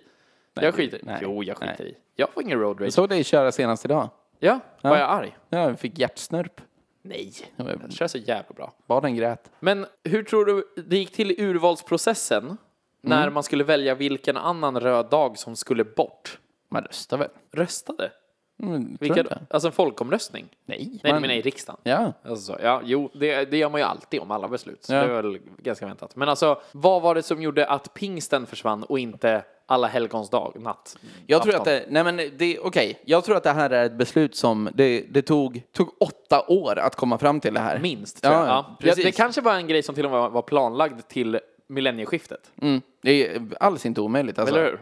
[SPEAKER 1] jag skiter
[SPEAKER 2] nej,
[SPEAKER 1] i. Jo, jag skiter
[SPEAKER 2] nej.
[SPEAKER 1] i. Jag får ingen road
[SPEAKER 2] Jag
[SPEAKER 1] rage.
[SPEAKER 2] såg dig köra senast idag.
[SPEAKER 1] Ja, var jag arg?
[SPEAKER 2] Ja, jag fick hjärtsnörp.
[SPEAKER 1] Nej,
[SPEAKER 2] men-
[SPEAKER 1] jag kör så jävla bra.
[SPEAKER 2] Barnen grät.
[SPEAKER 1] Men hur tror du det gick till i urvalsprocessen när
[SPEAKER 2] Mm.
[SPEAKER 1] man skulle välja vilken annan röd dag som skulle bort?
[SPEAKER 2] Man röstar väl?
[SPEAKER 1] Röstade?
[SPEAKER 2] Mm, tror
[SPEAKER 1] Vilka,
[SPEAKER 2] du inte?
[SPEAKER 1] alltså en folkomröstning?
[SPEAKER 2] Nej.
[SPEAKER 1] Nej,
[SPEAKER 2] man-
[SPEAKER 1] men nej, riksdagen.
[SPEAKER 2] Ja.
[SPEAKER 1] Alltså, så, ja, jo, det, det gör man ju alltid om alla beslut. Så
[SPEAKER 2] Ja.
[SPEAKER 1] det är väl ganska väntat. Men alltså, vad var det som gjorde att pingsten försvann och inte alla helgons dag, natt?
[SPEAKER 2] Jag tror att
[SPEAKER 1] afton?
[SPEAKER 2] det, nej men det, okej. Jag tror att det här är ett beslut som, det, det tog, tog åtta år att komma fram till det här.
[SPEAKER 1] Minst, tror jag. Ja,
[SPEAKER 2] precis.
[SPEAKER 1] det, det kanske var en grej som till och med var planlagd till millennieskiftet.
[SPEAKER 2] Mm, det är alls inte omöjligt. Alltså.
[SPEAKER 1] Eller hur?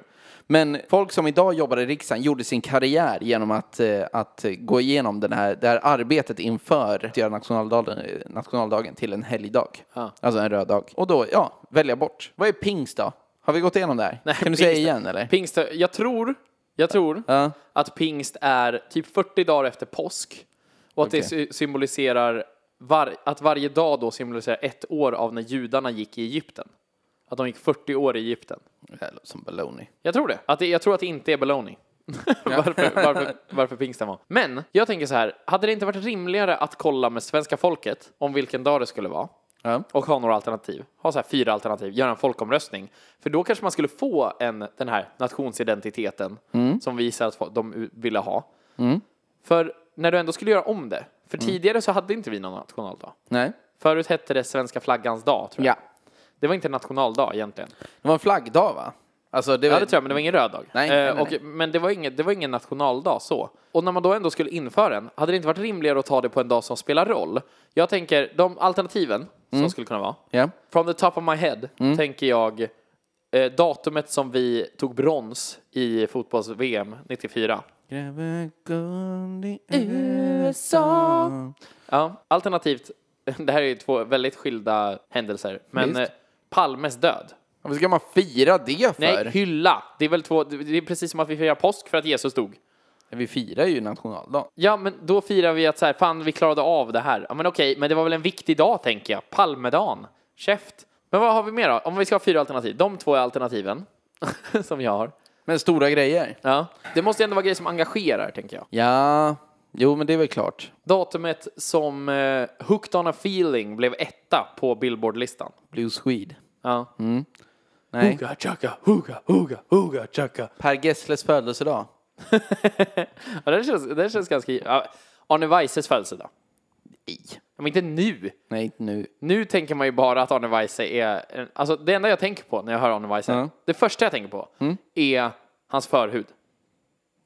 [SPEAKER 2] Men folk som idag jobbar i riksdagen gjorde sin karriär genom att, eh, att eh, gå igenom den här, det här arbetet inför att göra nationaldagen, eh, nationaldagen till en helgdag.
[SPEAKER 1] Ja.
[SPEAKER 2] Alltså en röd dag. Och då, ja, välja bort. Vad är pingst då? Har vi gått igenom det här? kan du säga
[SPEAKER 1] pingst-
[SPEAKER 2] igen eller?
[SPEAKER 1] Pingst, jag tror, jag tror
[SPEAKER 2] Ja.
[SPEAKER 1] att pingst är typ 40 dagar efter påsk och att det
[SPEAKER 2] Okej.
[SPEAKER 1] sy- symboliserar var, att varje dag då symboliserar ett år av när judarna gick i Egypten. Att de gick 40 år i Egypten.
[SPEAKER 2] Det här låter som baloney.
[SPEAKER 1] Jag tror det. Att det jag tror att det inte är baloney. varför, varför, varför pingsten var. Men jag tänker så här, hade det inte varit rimligare att kolla med svenska folket om vilken dag det skulle vara?
[SPEAKER 2] Ja.
[SPEAKER 1] och ha några alternativ. Ha så här fyra alternativ, göra en folkomröstning. För då kanske man skulle få en, den här nationsidentiteten som visar att fo- de u- ville ha. För när du ändå skulle göra om det, för tidigare så hade inte vi någon nationaldag.
[SPEAKER 2] Nej.
[SPEAKER 1] Förut hette det svenska flaggans dag, tror jag.
[SPEAKER 2] Ja.
[SPEAKER 1] Det var inte en nationaldag egentligen.
[SPEAKER 2] Det var en flaggdag va? Alltså det var...
[SPEAKER 1] Ja, det tror jag, men det var ingen röd dag.
[SPEAKER 2] Nej, nej,
[SPEAKER 1] Eh,
[SPEAKER 2] nej,
[SPEAKER 1] och, Men det var, ingen, det var ingen nationaldag så. Och när man då ändå skulle införa den, hade det inte varit rimligare att ta det på en dag som spelar roll? Jag tänker, de alternativen som
[SPEAKER 2] Mm.
[SPEAKER 1] skulle kunna vara,
[SPEAKER 2] Ja.
[SPEAKER 1] From the top of my head
[SPEAKER 2] Mm.
[SPEAKER 1] tänker jag eh, datumet som vi tog brons i fotbolls-VM 94. Ja, alternativt, [LAUGHS] det här är ju två väldigt skilda händelser, men
[SPEAKER 2] Visst.
[SPEAKER 1] eh, Palmes död.
[SPEAKER 2] Varför ska man fira det för?
[SPEAKER 1] Nej, hylla. Det är väl två, det är precis som att vi firar påsk för att Jesus dog.
[SPEAKER 2] Vi firar ju nationaldagen.
[SPEAKER 1] Ja, men då firar vi att så här, fan vi klarade av det här. Ja, men okej, men det var väl en viktig dag tänker jag. Palmedagen. Käft. Men vad har vi mer då? Om vi ska ha fyra alternativ. De två är alternativen [LAUGHS] som jag har.
[SPEAKER 2] Men stora grejer.
[SPEAKER 1] Ja. Det måste ju ändå vara grejer som engagerar, tänker jag.
[SPEAKER 2] Ja, jo men det är väl klart.
[SPEAKER 1] Datumet som eh, Hooked on a feeling blev etta på Billboard-listan. Mm.
[SPEAKER 2] Blue Swede.
[SPEAKER 1] Ja.
[SPEAKER 2] Nej.
[SPEAKER 1] Hugga, chugga, hugga, hugga, hugga, chugga.
[SPEAKER 2] Per Gessles födelsedag.
[SPEAKER 1] Ja, det, känns, det känns ganska... Ja. Arne Weises födelsedag.
[SPEAKER 2] Nej.
[SPEAKER 1] Men inte nu.
[SPEAKER 2] Nej, inte nu.
[SPEAKER 1] Nu tänker man ju bara att Arne Weise är... en- Alltså det enda jag tänker på när jag hör Arne Weise,
[SPEAKER 2] Ja. Mm.
[SPEAKER 1] det första jag tänker på är hans förhud.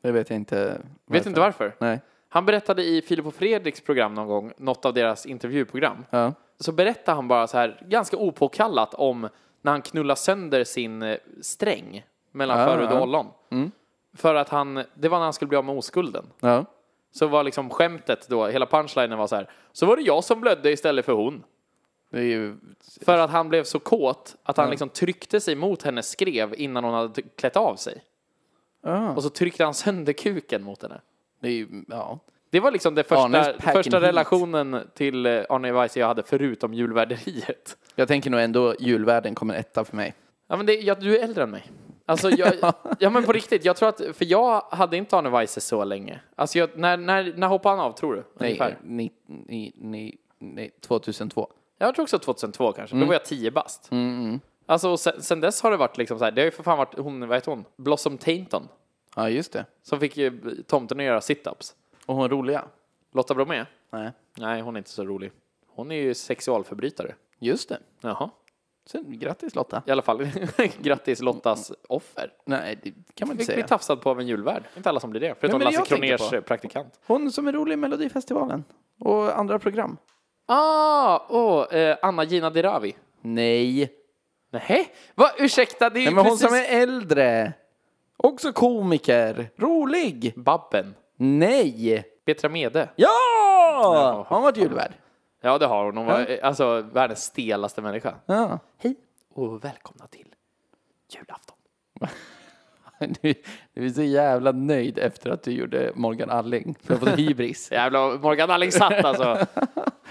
[SPEAKER 2] Det vet jag inte. Varför.
[SPEAKER 1] Vet inte varför?
[SPEAKER 2] Nej.
[SPEAKER 1] Han berättade i Filip och Fredriks program någon gång, något av deras intervjuprogram,
[SPEAKER 2] Ja.
[SPEAKER 1] så berättar han bara så här ganska opåkallat om när han knullar sönder sin eh, sträng mellan
[SPEAKER 2] Ja,
[SPEAKER 1] förhud och
[SPEAKER 2] ja. Mm.
[SPEAKER 1] ollon. För att han, det var när han skulle bli av med oskulden.
[SPEAKER 2] Ja.
[SPEAKER 1] Så var liksom skämtet då, hela punchlinen var så här, så var det jag som blödde istället för hon.
[SPEAKER 2] Det är ju...
[SPEAKER 1] För att han blev så kåt att han liksom tryckte sig mot henne skrev innan hon hade t- klätt av sig.
[SPEAKER 2] Ja.
[SPEAKER 1] Och så tryckte han sönder kuken mot henne.
[SPEAKER 2] Det är ju... Ja.
[SPEAKER 1] Det var liksom det första,
[SPEAKER 2] Arnes packing
[SPEAKER 1] första
[SPEAKER 2] heat.
[SPEAKER 1] relationen till eh, Arne Weise jag hade förutom julvärderiet.
[SPEAKER 2] Jag tänker nog ändå julvärden kommer etta för mig.
[SPEAKER 1] Ja, men det, jag, du är äldre än mig.
[SPEAKER 2] [LAUGHS]
[SPEAKER 1] Alltså, jag, ja, men på riktigt. Jag tror att, för jag hade inte Arne Weise så länge. Alltså, jag, när, när, när hoppade han av, tror du?
[SPEAKER 2] Nej,
[SPEAKER 1] Ungefär.
[SPEAKER 2] ni, ni, ni, ni, 2002.
[SPEAKER 1] Jag tror också 2002 kanske.
[SPEAKER 2] Mm.
[SPEAKER 1] Då var jag 10 bast. Alltså, och sen, sen dess har det varit liksom så här. Det har ju för fan varit hon, vad heter hon? Blossom Tainton.
[SPEAKER 2] Ja, just det.
[SPEAKER 1] Som fick eh, tomten att göra sit-ups.
[SPEAKER 2] Och hon roliga?
[SPEAKER 1] Lotta Bromé?
[SPEAKER 2] Nej.
[SPEAKER 1] Nej, hon är inte så rolig. Hon är ju sexualförbrytare.
[SPEAKER 2] Just det.
[SPEAKER 1] Jaha.
[SPEAKER 2] Sen, grattis Lotta.
[SPEAKER 1] I alla fall, [LAUGHS] grattis Lottas offer.
[SPEAKER 2] Nej, det kan man inte
[SPEAKER 1] Fick bli
[SPEAKER 2] säga.
[SPEAKER 1] tafsad på av en julvärd. Inte alla som blir det. Förutom
[SPEAKER 2] men det
[SPEAKER 1] Lasse
[SPEAKER 2] jag tänker
[SPEAKER 1] Kroners praktikant.
[SPEAKER 2] Hon som är rolig i Melodifestivalen. Och andra program.
[SPEAKER 1] Ah, åh, eh, Anna-Gina Dirawi.
[SPEAKER 2] Nej.
[SPEAKER 1] Nej, vad ursäkta, det är ju
[SPEAKER 2] Nej, men hon
[SPEAKER 1] precis...
[SPEAKER 2] som är äldre. Också komiker. Rolig.
[SPEAKER 1] Babben,
[SPEAKER 2] Nej.
[SPEAKER 1] Petra Mede.
[SPEAKER 2] Ja! Hon har varit julvärd.
[SPEAKER 1] Ja, det har hon. Hon var eh, alltså världens stelaste människa.
[SPEAKER 2] Ja.
[SPEAKER 1] Hej och välkomna till julafton.
[SPEAKER 2] [LAUGHS] Du, du är så jävla nöjd efter att du gjorde Morgan Alling. För att få [LAUGHS] hybris.
[SPEAKER 1] Jävlar, Morgan Alling
[SPEAKER 2] [LAUGHS]
[SPEAKER 1] satt alltså.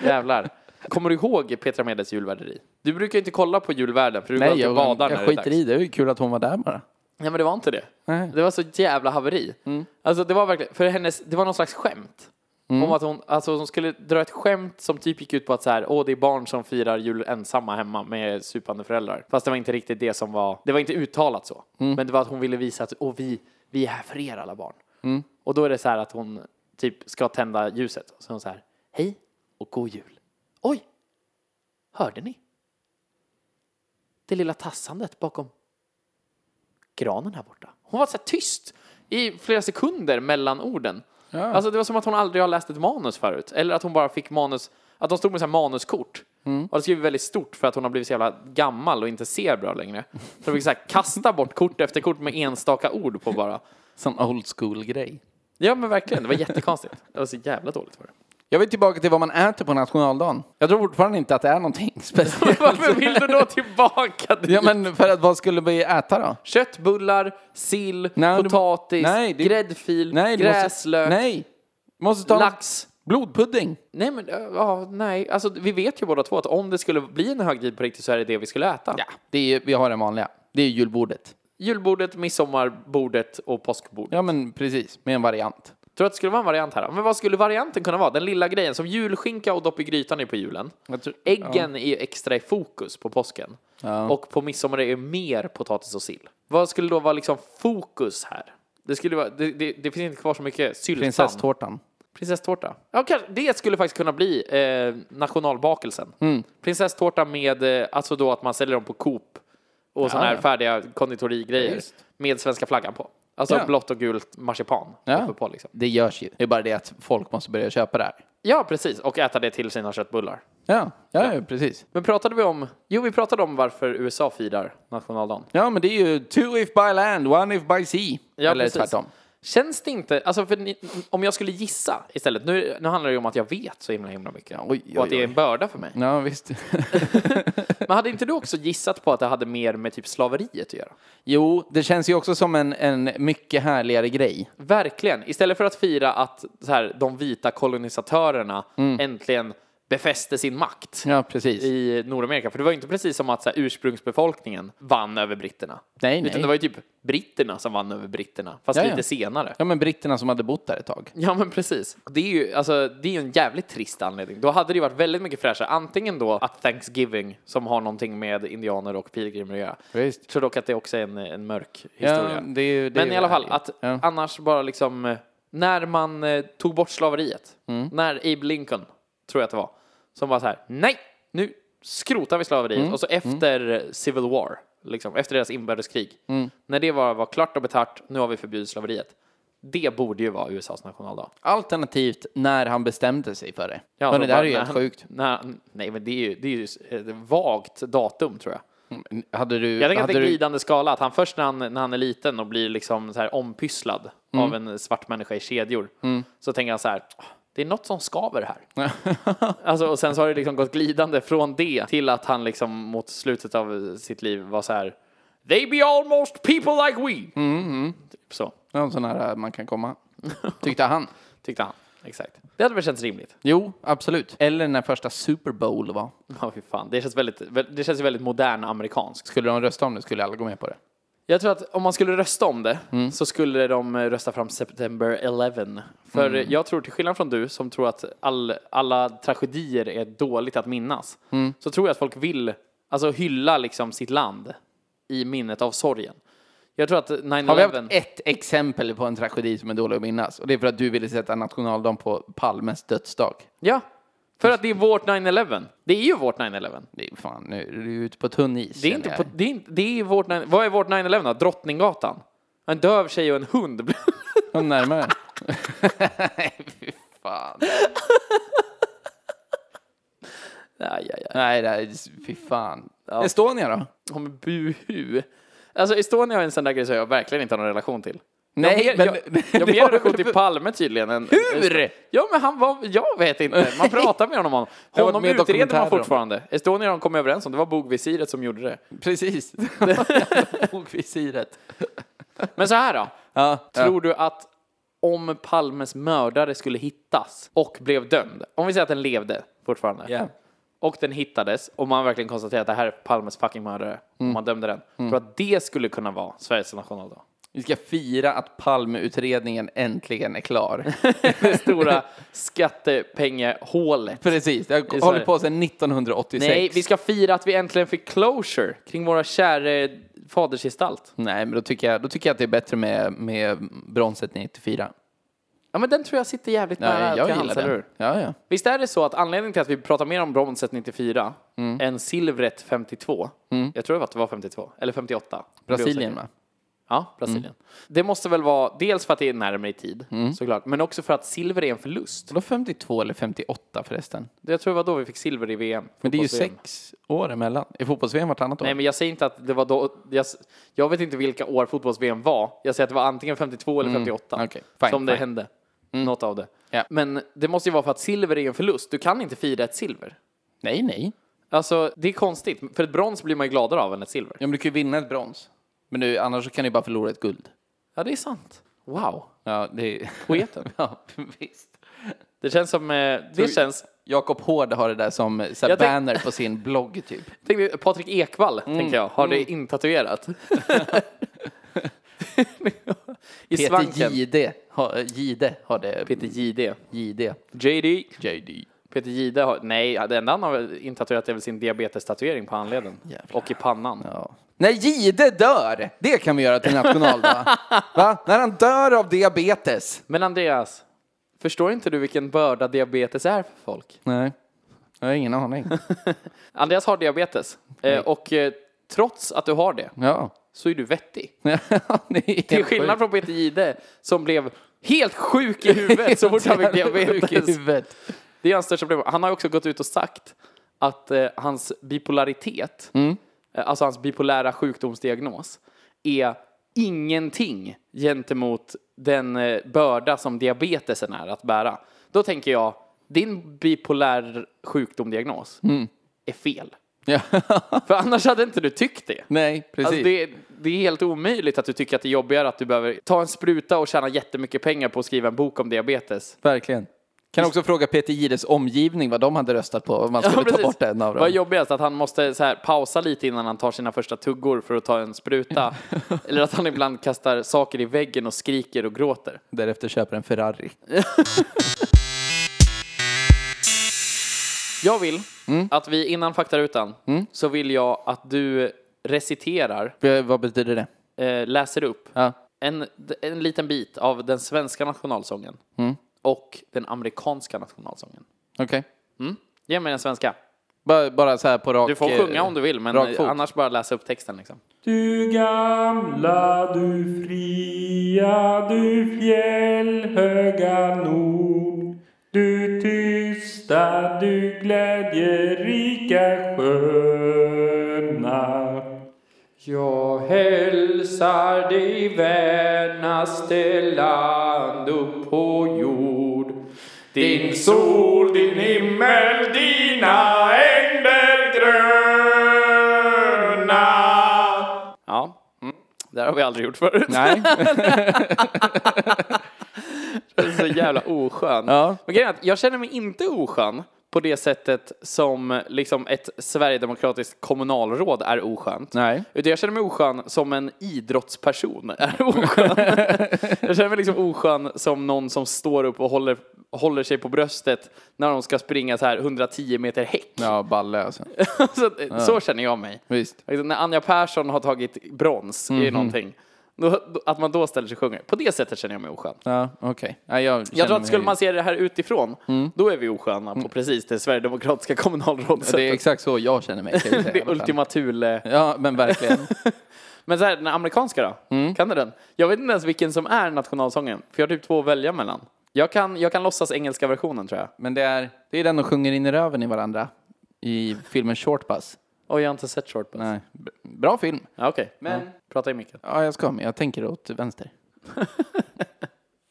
[SPEAKER 1] Jävlar. Kommer du ihåg Petra Medes julvärderi? Du brukar ju inte kolla på julvärden för du går
[SPEAKER 2] Nej,
[SPEAKER 1] alltid och
[SPEAKER 2] jag,
[SPEAKER 1] badar
[SPEAKER 2] jag,
[SPEAKER 1] när det är
[SPEAKER 2] skiter
[SPEAKER 1] dags.
[SPEAKER 2] i det. Det var ju kul att hon var där bara.
[SPEAKER 1] Nej, men det var inte det.
[SPEAKER 2] Nej.
[SPEAKER 1] Det var så jävla haveri. Alltså det var verkligen, för hennes, det var någon slags skämt. Om att hon, alltså hon skulle dra ett skämt som typ gick ut på att så här, åh det är barn som firar jul ensamma hemma med supande föräldrar. Fast det var inte riktigt det som var, det var inte uttalat så. Men det var att hon ville visa att, åh vi, vi är här för er alla barn. Och då är det så här att hon typ ska tända ljuset. Och så är hon så här, hej och god jul. Oj, hörde ni? Det lilla tassandet bakom granen här borta. Hon var så här tyst i flera sekunder mellan orden. Alltså det var som att hon aldrig har läst ett manus förut. Eller att hon bara fick manus, att de stod med så här manuskort.
[SPEAKER 2] Mm.
[SPEAKER 1] Och det skrev väldigt stort för att hon har blivit så jävla gammal och inte ser bra längre. Så de fick så här kasta bort kort efter kort med enstaka ord på bara.
[SPEAKER 2] Sån old school-grej.
[SPEAKER 1] Ja men verkligen, det var jättekonstigt. Det var så jävla
[SPEAKER 2] [LAUGHS]
[SPEAKER 1] dåligt för det.
[SPEAKER 2] Jag vill tillbaka till vad man äter på nationaldagen. Jag tror fortfarande inte att det är någonting [LAUGHS] speciellt.
[SPEAKER 1] Varför vill du då tillbaka dit?
[SPEAKER 2] Ja, men för att vad skulle vi äta då?
[SPEAKER 1] Köttbullar, sill,
[SPEAKER 2] Nej, du-
[SPEAKER 1] potatis,
[SPEAKER 2] Nej, det-
[SPEAKER 1] gräddfil,
[SPEAKER 2] Nej, du måste-
[SPEAKER 1] gräslök,
[SPEAKER 2] Nej. Måste ta
[SPEAKER 1] lax.
[SPEAKER 2] blodpudding.
[SPEAKER 1] Nej, men äh, ja, nej. Alltså, vi vet ju båda två att om det skulle bli en högtid på riktigt så är det det vi skulle äta.
[SPEAKER 2] Ja, det är, vi har den vanliga. Det är julbordet.
[SPEAKER 1] Julbordet, midsommarbordet och påskbordet.
[SPEAKER 2] Ja, men precis. Med en variant.
[SPEAKER 1] Tror du att det skulle vara en variant här? då? Men vad skulle varianten kunna vara? Den lilla grejen som julskinka och dopp i grytan är på julen.
[SPEAKER 2] Jag tror-
[SPEAKER 1] Äggen är ju extra i fokus på påsken. Och på midsommar är det mer potatis och sill. Vad skulle då vara liksom fokus här? Det, skulle vara, det, det, det finns inte kvar så mycket syltan.
[SPEAKER 2] Prinsesstårtan.
[SPEAKER 1] Prinsesstårta. Ja, kanske, det skulle faktiskt kunna bli eh, nationalbakelsen.
[SPEAKER 2] Mm.
[SPEAKER 1] Prinsesstårta med, eh, alltså då att man säljer dem på Coop och sådana här
[SPEAKER 2] ja.
[SPEAKER 1] färdiga konditorigrejer
[SPEAKER 2] Visst.
[SPEAKER 1] med svenska flaggan på. Alltså
[SPEAKER 2] Ja.
[SPEAKER 1] blått och gult marsipan.
[SPEAKER 2] Ja.
[SPEAKER 1] uppe På, liksom.
[SPEAKER 2] Det görs ju. Det är bara det att folk måste börja köpa det här.
[SPEAKER 1] ja, precis. Och äta det till sina köttbullar.
[SPEAKER 2] Ja, ja, ja. precis.
[SPEAKER 1] Men pratade vi om, jo vi pratade om varför USA firar nationaldagen.
[SPEAKER 2] Ja, men det är ju two if by land, one if by sea.
[SPEAKER 1] Ja,
[SPEAKER 2] Eller
[SPEAKER 1] precis.
[SPEAKER 2] tvärtom.
[SPEAKER 1] Känns det inte, alltså för ni, om jag skulle gissa istället, nu, nu handlar det ju om att jag vet så himla himla mycket.
[SPEAKER 2] oj, oj,
[SPEAKER 1] och att det är en börda för mig.
[SPEAKER 2] Ja, visst. [LAUGHS]
[SPEAKER 1] Men hade inte du också gissat på att det hade mer med typ slaveriet att göra?
[SPEAKER 2] jo, det känns ju också som en, en mycket härligare grej.
[SPEAKER 1] Verkligen. Istället för att fira att så här, de vita kolonisatörerna äntligen befäste sin makt
[SPEAKER 2] Mm. Ja, precis.
[SPEAKER 1] i Nordamerika. För det var ju inte precis som att så här, ursprungsbefolkningen vann över britterna.
[SPEAKER 2] Nej,
[SPEAKER 1] Utan
[SPEAKER 2] nej.
[SPEAKER 1] det var ju typ britterna som vann över britterna, fast
[SPEAKER 2] Ja, ja.
[SPEAKER 1] lite senare.
[SPEAKER 2] Ja, men britterna som hade bott där ett tag.
[SPEAKER 1] Ja men precis. Det är ju alltså, det är ju en jävligt trist anledning. Då hade det ju varit väldigt mycket fräschare. Antingen då att Thanksgiving, som har någonting med indianer och pilgrimer att göra.
[SPEAKER 2] Visst.
[SPEAKER 1] Tror dock att det också är en, en mörk historia.
[SPEAKER 2] Ja, det är ju, det är
[SPEAKER 1] Men
[SPEAKER 2] ju
[SPEAKER 1] i alla fall,
[SPEAKER 2] härligt.
[SPEAKER 1] att
[SPEAKER 2] Ja.
[SPEAKER 1] annars bara liksom eh, när man eh, tog bort slaveriet,
[SPEAKER 2] Mm.
[SPEAKER 1] när Abe Lincoln, tror jag att det var, som var så här, nej, nu skrotar vi slaveriet.
[SPEAKER 2] Mm.
[SPEAKER 1] Och så efter eh, Civil War, liksom, efter deras inbördeskrig,
[SPEAKER 2] Mm.
[SPEAKER 1] när det var, var klart och betart, nu har vi förbjudit slaveriet. Det borde ju vara USAs nationaldag.
[SPEAKER 2] Alternativt när han bestämde sig för det. Ja,
[SPEAKER 1] så
[SPEAKER 2] Hörrni, det här
[SPEAKER 1] bara
[SPEAKER 2] är ju
[SPEAKER 1] när
[SPEAKER 2] helt
[SPEAKER 1] han-
[SPEAKER 2] sjukt.
[SPEAKER 1] När, nej, men det är ju, det är ju s- ett vagt datum tror jag.
[SPEAKER 2] Hade du...
[SPEAKER 1] Jag tänker att
[SPEAKER 2] hade
[SPEAKER 1] det är
[SPEAKER 2] du-
[SPEAKER 1] glidande skala. Att han först när han, när han är liten och blir liksom så här ompysslad av
[SPEAKER 2] Mm.
[SPEAKER 1] en svart människa i kedjor. Så tänker han så här, "Åh, det är något som skaver
[SPEAKER 2] [LAUGHS]
[SPEAKER 1] här. alltså, och sen så har det liksom gått glidande från det till att han liksom mot slutet av sitt liv var så här, they be almost people like we.
[SPEAKER 2] Mm,
[SPEAKER 1] Typ så
[SPEAKER 2] Någon sån här eh, man kan
[SPEAKER 1] [LAUGHS]
[SPEAKER 2] komma. Tyckte han.
[SPEAKER 1] tyckte han. Exakt. Det hade väl känts rimligt. [LAUGHS]
[SPEAKER 2] Jo, absolut. Eller när första Super Bowl var.
[SPEAKER 1] Ja, fy fan. Det känns väldigt, det känns ju väldigt modern amerikansk.
[SPEAKER 2] Skulle de rösta om det skulle alla gå med på det.
[SPEAKER 1] Jag tror att om man skulle rösta om det
[SPEAKER 2] Mm.
[SPEAKER 1] så skulle de eh, rösta fram September 11. För
[SPEAKER 2] Mm.
[SPEAKER 1] eh, jag tror, till skillnad från du som tror att all, alla tragedier är dåligt att minnas,
[SPEAKER 2] Mm.
[SPEAKER 1] så tror jag att folk vill alltså, hylla liksom, sitt land i minnet av sorgen. Jag tror att
[SPEAKER 2] Har vi haft
[SPEAKER 1] 9-11...
[SPEAKER 2] ett exempel på en tragedi som är dålig att minnas? Och det är för att du ville sätta nationaldagen på Palmes dödsdag.
[SPEAKER 1] Ja, för att det är vårt 9-11. Det är ju vårt 9-11.
[SPEAKER 2] Det är fan, nu är du ute på tunn is.
[SPEAKER 1] Det är,
[SPEAKER 2] känner
[SPEAKER 1] inte
[SPEAKER 2] jag.
[SPEAKER 1] på, det är, inte, det är vårt... 9 Vad är vårt 9-11 då? Drottninggatan? En döv tjej och en hund. [LAUGHS]
[SPEAKER 2] Kom närmare. [LAUGHS] Nej, fy fan.
[SPEAKER 1] aj, aj, aj.
[SPEAKER 2] Nej, det är, fy fan. Estonia då?
[SPEAKER 1] Ja men buhu. Alltså Estonia är en sån där grej som jag verkligen inte har någon relation till.
[SPEAKER 2] Nej, [LAUGHS]
[SPEAKER 1] jag, jag,
[SPEAKER 2] men-
[SPEAKER 1] jag
[SPEAKER 2] det
[SPEAKER 1] mer
[SPEAKER 2] var-
[SPEAKER 1] relation till Palme tydligen. Än,
[SPEAKER 2] Hur?
[SPEAKER 1] Ja, men han var, jag vet inte. Man pratar med
[SPEAKER 2] [LAUGHS]
[SPEAKER 1] honom om
[SPEAKER 2] har varit
[SPEAKER 1] honom. Honom
[SPEAKER 2] med i
[SPEAKER 1] utreder man
[SPEAKER 2] dokumentärer om.
[SPEAKER 1] fortfarande. Estonia de kom överens om, det var bogvisiret som gjorde det.
[SPEAKER 2] [LAUGHS] Precis. Bogvisiret.
[SPEAKER 1] Men så här då,
[SPEAKER 2] Ja,
[SPEAKER 1] tror du att om Palmes mördare skulle hittas och blev dömd, om vi säger att den levde fortfarande,
[SPEAKER 2] ja.
[SPEAKER 1] och den hittades och man verkligen konstaterar att det här är Palmes fucking mördare, och
[SPEAKER 2] Mm.
[SPEAKER 1] man dömde den, tror du att det skulle kunna vara Sveriges nationaldag?
[SPEAKER 2] Vi ska fira att Palmeutredningen äntligen är klar.
[SPEAKER 1] Det stora
[SPEAKER 2] [LAUGHS]
[SPEAKER 1] skattepengehålet.
[SPEAKER 2] Precis, det har
[SPEAKER 1] Sverige.
[SPEAKER 2] hållit på sedan 1986.
[SPEAKER 1] Nej, vi ska fira att vi äntligen fick closure kring våra kära fadersgestalt.
[SPEAKER 2] Nej, men då tycker, jag, då tycker jag att det är bättre med, med bronset 94.
[SPEAKER 1] Ja, men den tror jag sitter jävligt
[SPEAKER 2] Nej,
[SPEAKER 1] nära
[SPEAKER 2] jag gillar
[SPEAKER 1] till hands, eller
[SPEAKER 2] den.
[SPEAKER 1] hur?
[SPEAKER 2] Ja, ja.
[SPEAKER 1] Visst är det så att anledningen till att vi pratar mer om bronset 94
[SPEAKER 2] Mm.
[SPEAKER 1] än silvret 52, jag tror att det var 52, eller 58.
[SPEAKER 2] Brasilien, va? Mm.
[SPEAKER 1] Ja, Brasilien. Det måste väl vara dels för att det är närmare i tid, såklart, men också för att silver är en förlust.
[SPEAKER 2] Vadå 52 eller 58 förresten?
[SPEAKER 1] Jag tror det var då vi fick silver i VM.
[SPEAKER 2] Men det är ju
[SPEAKER 1] fotbolls-VM.
[SPEAKER 2] sex år emellan. Är fotbolls-VM vartannat år?
[SPEAKER 1] Nej, men jag säger inte att det var då. Jag, jag vet inte vilka år fotbolls-VM var. Jag säger att det var antingen 52 eller 58
[SPEAKER 2] Mm, okej. Fine,
[SPEAKER 1] som det
[SPEAKER 2] fine. Mm.
[SPEAKER 1] hände. Något av det.
[SPEAKER 2] Ja.
[SPEAKER 1] Men det måste ju vara för att silver är en förlust. Du kan inte fira ett silver.
[SPEAKER 2] nej, nej.
[SPEAKER 1] Alltså, det är konstigt. För ett brons blir man ju gladare av än ett silver.
[SPEAKER 2] Ja, men du kan ju vinna ett brons. Men du, annars så kan du bara förlora ett guld.
[SPEAKER 1] Ja, det är sant. Wow.
[SPEAKER 2] Ja, det
[SPEAKER 1] [LAUGHS]
[SPEAKER 2] är... [LAUGHS]
[SPEAKER 1] Poeten.
[SPEAKER 2] ja, visst.
[SPEAKER 1] Det känns som... eh, Det känns...
[SPEAKER 2] Jakob Hård har det där som eh, så här,
[SPEAKER 1] Jag tänk-
[SPEAKER 2] banner på sin blogg, typ.
[SPEAKER 1] Tänk, dig, Patrik Ekwall,
[SPEAKER 2] Mm,
[SPEAKER 1] tänker jag, har
[SPEAKER 2] [LAUGHS]
[SPEAKER 1] det intatuerat. [LAUGHS] I
[SPEAKER 2] Peter
[SPEAKER 1] [LAUGHS] svanken.
[SPEAKER 2] Jihde har, Jihde har det.
[SPEAKER 1] Peter JD.
[SPEAKER 2] Jihde.
[SPEAKER 1] JD.
[SPEAKER 2] JD.
[SPEAKER 1] Peter Jihde har, nej, det enda han har väl intatuerat är väl sin diabetestatuering på handleden. Och i pannan.
[SPEAKER 2] Ja. När Jihde dör, det kan vi göra till
[SPEAKER 1] [LAUGHS]
[SPEAKER 2] nationaldag. Va? När han dör av diabetes.
[SPEAKER 1] Men Andreas, förstår inte du vilken börda diabetes är för folk?
[SPEAKER 2] Nej, jag har ingen aning.
[SPEAKER 1] Andreas har diabetes. Eh, och eh, trots att du har det,
[SPEAKER 2] [LAUGHS] Ja. [LAUGHS]
[SPEAKER 1] så är du vettig.
[SPEAKER 2] det är
[SPEAKER 1] Till skillnad från Peter Jihde, som blev helt sjuk i
[SPEAKER 2] [LAUGHS]
[SPEAKER 1] huvudet så fort han fick diabetes.
[SPEAKER 2] huvudet.
[SPEAKER 1] Det är hans största problem. Han har ju också gått ut och sagt att eh, hans bipolaritet,
[SPEAKER 2] Mm.
[SPEAKER 1] eh, alltså hans bipolära sjukdomsdiagnos, är ingenting gentemot den eh, börda som diabetesen är att bära. Då tänker jag, din bipolär sjukdomdiagnos
[SPEAKER 2] Mm.
[SPEAKER 1] är fel.
[SPEAKER 2] [LAUGHS] Ja.
[SPEAKER 1] För annars hade inte du tyckt det.
[SPEAKER 2] Nej, precis.
[SPEAKER 1] Alltså det, är- det är helt omöjligt att du tycker att det är jobbigare att du behöver ta en spruta och tjäna jättemycket pengar på att skriva en bok om diabetes.
[SPEAKER 2] Verkligen. Kan också fråga Peter Jihdes omgivning vad de hade röstat på om man skulle ta
[SPEAKER 1] precis.
[SPEAKER 2] bort en av
[SPEAKER 1] Vad är
[SPEAKER 2] dem.
[SPEAKER 1] jobbigast? Att han måste så här, pausa lite innan han tar sina första tuggor för att ta
[SPEAKER 2] [LAUGHS]
[SPEAKER 1] en spruta? Eller att han ibland kastar saker i väggen och skriker och gråter?
[SPEAKER 2] Därefter köper en Ferrari.
[SPEAKER 1] Jag vill
[SPEAKER 2] Mm.
[SPEAKER 1] att vi innan faktarutan så vill jag att du reciterar,
[SPEAKER 2] V- Vad betyder det?
[SPEAKER 1] eh, läser upp
[SPEAKER 2] Ja.
[SPEAKER 1] en, en liten bit av den svenska nationalsången
[SPEAKER 2] Mm.
[SPEAKER 1] och den amerikanska nationalsången.
[SPEAKER 2] Okej.
[SPEAKER 1] Ge mig den svenska.
[SPEAKER 2] Bara, bara så här på rak... eh,
[SPEAKER 1] Du får sjunga om du vill, men
[SPEAKER 2] Rak fot.
[SPEAKER 1] annars bara läsa upp texten liksom.
[SPEAKER 3] Du gamla, du fria, du fjällhöga nord. Du tysta, du glädjerika sköna.
[SPEAKER 1] Jag hälsar dig vänaste land upp på jord Din sol, din himmel, dina ängder gröna Ja, Mm. det här har vi aldrig gjort förut.
[SPEAKER 2] Nej.
[SPEAKER 1] Den är så jävla oskön.
[SPEAKER 2] Ja.
[SPEAKER 1] Men grejen är att jag känner mig inte oskön på det sättet som liksom ett sverigedemokratiskt kommunalråd är oskönt.
[SPEAKER 2] Nej.
[SPEAKER 1] Utan jag känner mig oskön som en idrottsperson är
[SPEAKER 2] [LAUGHS]
[SPEAKER 1] oskön. jag känner mig liksom oskön som någon som står upp och håller, håller sig på bröstet när de ska springa så här 110 meter häck. [LAUGHS]
[SPEAKER 2] Ja, balle alltså.
[SPEAKER 1] så, att- så känner jag mig.
[SPEAKER 2] Visst.
[SPEAKER 1] Liksom, när Anja Persson har tagit brons i
[SPEAKER 2] Mhm.
[SPEAKER 1] någonting, då, då, att man då ställer sig och sjunger. På det sättet känner jag mig oskön.
[SPEAKER 2] Ja, okej. Ja, jag, Mm.
[SPEAKER 1] Jag tror
[SPEAKER 2] känner
[SPEAKER 1] att skulle
[SPEAKER 2] mig-
[SPEAKER 1] man se det här utifrån, då är vi osköna på precis det sverigedemokratiska [LAUGHS] kommunalrådet.
[SPEAKER 2] Det är exakt så jag känner mig. kan jag säga.
[SPEAKER 1] [LAUGHS] det är Ultima Thule.
[SPEAKER 2] Ja, men verkligen.
[SPEAKER 1] Men så här, den amerikanska då?
[SPEAKER 2] Mm.
[SPEAKER 1] Kan du den? Jag vet inte ens vilken som är nationalsången, för jag har typ två att välja mellan. Jag kan, jag kan låtsas engelska versionen tror jag.
[SPEAKER 2] Men det är, det är den de sjunger in i röven i varandra i filmen Short Bus.
[SPEAKER 1] Oj, jag har inte sett Short Bus.
[SPEAKER 2] Nej. B- Bra film.
[SPEAKER 1] Ja, Okej,
[SPEAKER 2] Men-
[SPEAKER 1] men prata i micken.
[SPEAKER 2] Ja, jag ska, men jag tänker åt vänster.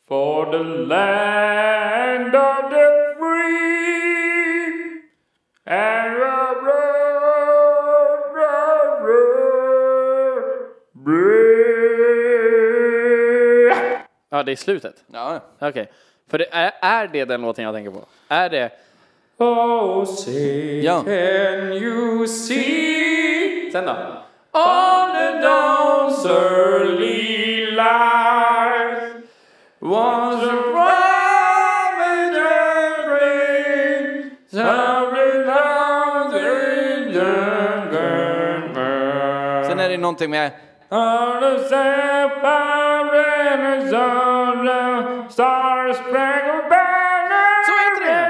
[SPEAKER 3] For the land of the free and the brave, brave, brave.
[SPEAKER 1] Ja, det är slutet.
[SPEAKER 2] Ja.
[SPEAKER 1] Okej. För det är, är det den låten jag tänker på? Är det...
[SPEAKER 3] Oh, say,
[SPEAKER 2] Ja.
[SPEAKER 3] can you see
[SPEAKER 1] Sen då?
[SPEAKER 3] on the dawn's early light was a prominent ring, something on the younger
[SPEAKER 2] Sen är det någonting med...
[SPEAKER 3] on the sapphire is on the star-spangled banner.
[SPEAKER 1] Så heter
[SPEAKER 3] det!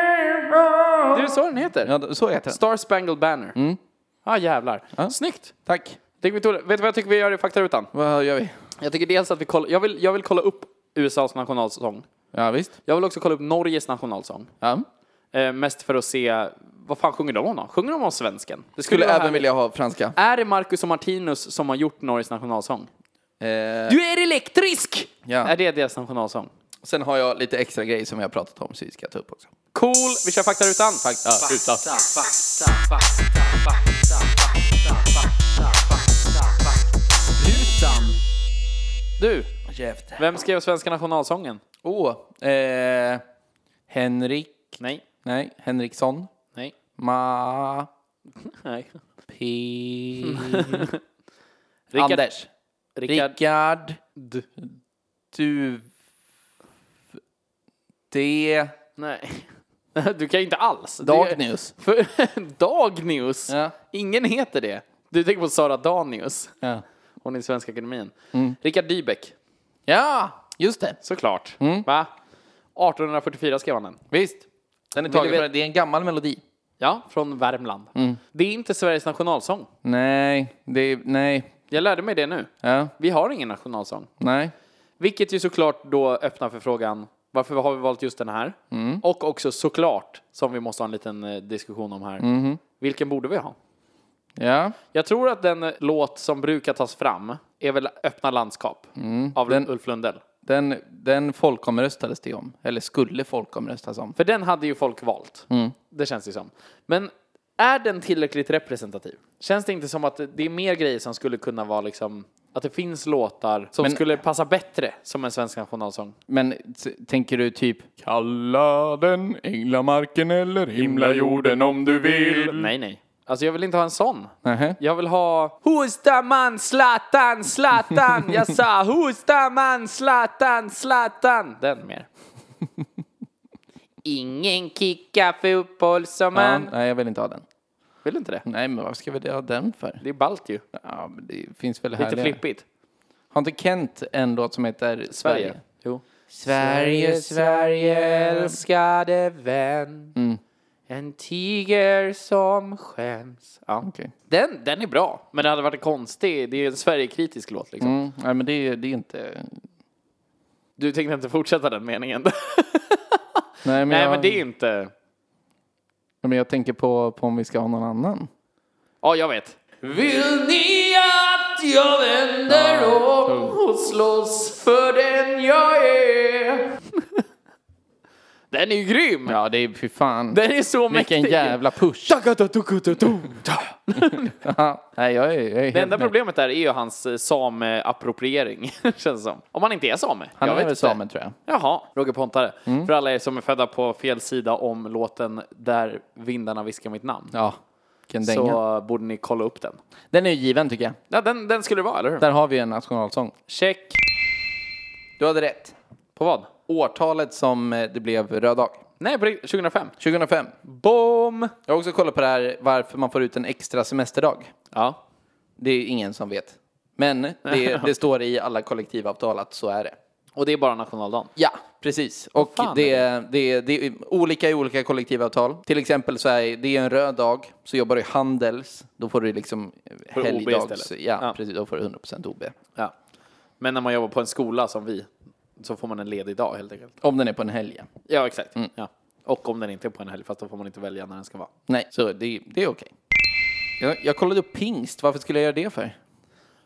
[SPEAKER 1] Det är så den heter.
[SPEAKER 2] Ja, så heter den.
[SPEAKER 1] Star Spangled Banner. Mm. ah, jävlar. Snyggt!
[SPEAKER 2] Tack.
[SPEAKER 1] Tänk, vi tog det. Vet du vad jag tycker vi gör i faktarutan?
[SPEAKER 2] Vad gör vi?
[SPEAKER 1] Jag tycker dels att vi kollar... Jag vill, jag vill kolla upp USAs nationalsång.
[SPEAKER 2] Ja, visst.
[SPEAKER 1] Jag vill också kolla upp Norges nationalsång.
[SPEAKER 2] Ja.
[SPEAKER 1] Eh, mest för att se... Vad fan sjunger de om? Sjunger de om svensken? Det
[SPEAKER 2] Skulle
[SPEAKER 1] vara
[SPEAKER 2] även
[SPEAKER 1] härligt.
[SPEAKER 2] vilja ha franska.
[SPEAKER 1] Är det Marcus och Martinus som har gjort Norges nationalsång?
[SPEAKER 2] Eh,
[SPEAKER 1] Du är elektrisk!
[SPEAKER 2] Ja.
[SPEAKER 1] Är det deras nationalsång?
[SPEAKER 2] sen har jag lite extra grejer som jag har pratat om, så vi ska ta upp också.
[SPEAKER 1] Cool! Vi kör faktarutan. Fakta, utan. Du,
[SPEAKER 2] Käften.
[SPEAKER 1] vem skrev svenska nationalsången?
[SPEAKER 2] Åh, eh, Henrik.
[SPEAKER 1] Nej.
[SPEAKER 2] Nej, Henriksson.
[SPEAKER 1] Nej.
[SPEAKER 2] Ma...
[SPEAKER 1] Nej.
[SPEAKER 2] P... [LAUGHS]
[SPEAKER 1] Rickard-
[SPEAKER 2] Anders.
[SPEAKER 1] Rickard.
[SPEAKER 2] Rickard. Du... Det...
[SPEAKER 1] Nej. [LAUGHS] Du kan ju inte alls. Det- [LAUGHS]
[SPEAKER 2] Dagnius.
[SPEAKER 1] För, Dagnius?
[SPEAKER 2] Ja.
[SPEAKER 1] Ingen heter det. Du tänker på Sara Danius.
[SPEAKER 2] Ja.
[SPEAKER 1] Hon är i Svenska Akademien. Rickard Dybeck.
[SPEAKER 2] ja, just det.
[SPEAKER 1] Såklart. Va? 1844 skrev han den.
[SPEAKER 2] Visst. Den är
[SPEAKER 1] Vill du
[SPEAKER 2] tagen
[SPEAKER 1] veta-
[SPEAKER 2] från, det är en gammal melodi.
[SPEAKER 1] Ja, från Värmland. Det är inte Sveriges nationalsång.
[SPEAKER 2] Nej, det är, nej,
[SPEAKER 1] Jag lärde mig det nu.
[SPEAKER 2] ja,
[SPEAKER 1] Vi har ingen nationalsång.
[SPEAKER 2] nej.
[SPEAKER 1] Vilket ju såklart då öppnar för frågan varför har vi valt just den här? Och också såklart, som vi måste ha en liten eh, diskussion om här, vilken borde vi ha?
[SPEAKER 2] Ja,
[SPEAKER 1] Jag tror att den eh, låt som brukar tas fram är väl Öppna landskap av Ulf Lundell.
[SPEAKER 2] den, den folkomröstades det om, eller skulle folkomröstas om.
[SPEAKER 1] För den hade ju folk valt.
[SPEAKER 2] Mm.
[SPEAKER 1] Det känns ju som. Men är den tillräckligt representativ? Känns det inte som att det är mer grejer som skulle kunna vara liksom att det finns låtar som
[SPEAKER 2] Men-
[SPEAKER 1] skulle passa bättre som en svensk nationalsång?
[SPEAKER 2] Men t- tänker du typ,
[SPEAKER 4] Kalla den änglamarken eller himlajorden om du vill.
[SPEAKER 1] Nej, nej. Alltså jag vill inte ha en sån.
[SPEAKER 2] nähä?
[SPEAKER 1] Jag vill ha Who's the man Zlatan, Zlatan?
[SPEAKER 2] [LAUGHS]
[SPEAKER 1] Jag sa Who's the man Zlatan, Zlatan?
[SPEAKER 2] [LAUGHS]
[SPEAKER 1] Den mer. Ingen kickar fotboll som
[SPEAKER 2] Ja,
[SPEAKER 1] man.
[SPEAKER 2] nej, jag vill inte ha den.
[SPEAKER 1] Vill du inte det?
[SPEAKER 2] Nej, men varför ska vi ha den för?
[SPEAKER 1] Det är ballt ju.
[SPEAKER 2] Ja, men det finns väl
[SPEAKER 1] Lite
[SPEAKER 2] härligare.
[SPEAKER 1] flippigt.
[SPEAKER 2] Har inte Kent en låt som heter Sverige?
[SPEAKER 1] Jo.
[SPEAKER 2] Sverige, Sverige, Mm.
[SPEAKER 1] älskade vän. En tiger som skäms. Ja.
[SPEAKER 2] Okej.
[SPEAKER 1] Den, den är bra, men det hade varit en konstig. Det är ju en Sverigekritisk låt liksom.
[SPEAKER 2] Mm, nej, men det, är- det är inte...
[SPEAKER 1] Du tänkte inte fortsätta den meningen? [LAUGHS]
[SPEAKER 2] Nej, men,
[SPEAKER 1] Nej,
[SPEAKER 2] jag,
[SPEAKER 1] men det är inte...
[SPEAKER 2] men jag tänker på, på om vi ska ha någon annan.
[SPEAKER 1] Ja, jag vet. Vill ni att jag vänder om och slåss för den jag
[SPEAKER 2] [LAUGHS]
[SPEAKER 1] är? den är ju grym!
[SPEAKER 2] Ja, det är fy fan.
[SPEAKER 1] Den är så mäktig!
[SPEAKER 2] Vilken jävla push. Ja, nej, jag är, jag är helt
[SPEAKER 1] [LAUGHS] Det enda
[SPEAKER 2] med.
[SPEAKER 1] problemet där är ju hans eh, same-appropriering, [LAUGHS] känns som. Om han inte är same.
[SPEAKER 2] Han
[SPEAKER 1] jag
[SPEAKER 2] är väl Mm.
[SPEAKER 1] vet inte.
[SPEAKER 2] samen tror jag.
[SPEAKER 1] Jaha, Roger Pontare. För alla er som är födda på fel sida om låten Där vindarna viskar mitt namn.
[SPEAKER 2] Ja, vilken dänga.
[SPEAKER 1] så borde ni kolla upp den.
[SPEAKER 2] Den är ju given tycker jag.
[SPEAKER 1] Ja, den, den skulle det vara, eller hur?
[SPEAKER 2] Där har vi en nationalsång.
[SPEAKER 1] Check.
[SPEAKER 2] Du hade rätt.
[SPEAKER 1] På vad?
[SPEAKER 2] Årtalet som eh, det blev röd dag.
[SPEAKER 1] Nej, på riktigt, 2005.
[SPEAKER 2] 2005.
[SPEAKER 1] Bom!
[SPEAKER 2] Jag har också kollat på det här varför man får ut en extra semesterdag.
[SPEAKER 1] Ja.
[SPEAKER 2] Det är ingen som vet. Men det,
[SPEAKER 1] [LAUGHS]
[SPEAKER 2] det står i alla kollektivavtal att så är det.
[SPEAKER 1] Och det är bara nationaldagen.
[SPEAKER 2] Ja, precis. Och
[SPEAKER 1] fan
[SPEAKER 2] det, är det, det är olika i olika kollektivavtal. Till exempel så är det en röd dag, så jobbar du i Handels, då får du liksom
[SPEAKER 1] Får du OB
[SPEAKER 2] helgdags...
[SPEAKER 1] istället.
[SPEAKER 2] Ja,
[SPEAKER 1] Ja.
[SPEAKER 2] precis. Då får du 100% OB.
[SPEAKER 1] Ja. Men när man jobbar på en skola som vi så får man en ledig dag helt enkelt.
[SPEAKER 2] Om den är på en helg. ja.
[SPEAKER 1] Ja, exakt.
[SPEAKER 2] Mm.
[SPEAKER 1] Ja. Och om den inte är på en helg, fast då får man inte välja när den ska vara.
[SPEAKER 2] Nej, så det, det är okej. Jag, jag kollade upp pingst. Varför skulle jag göra det för?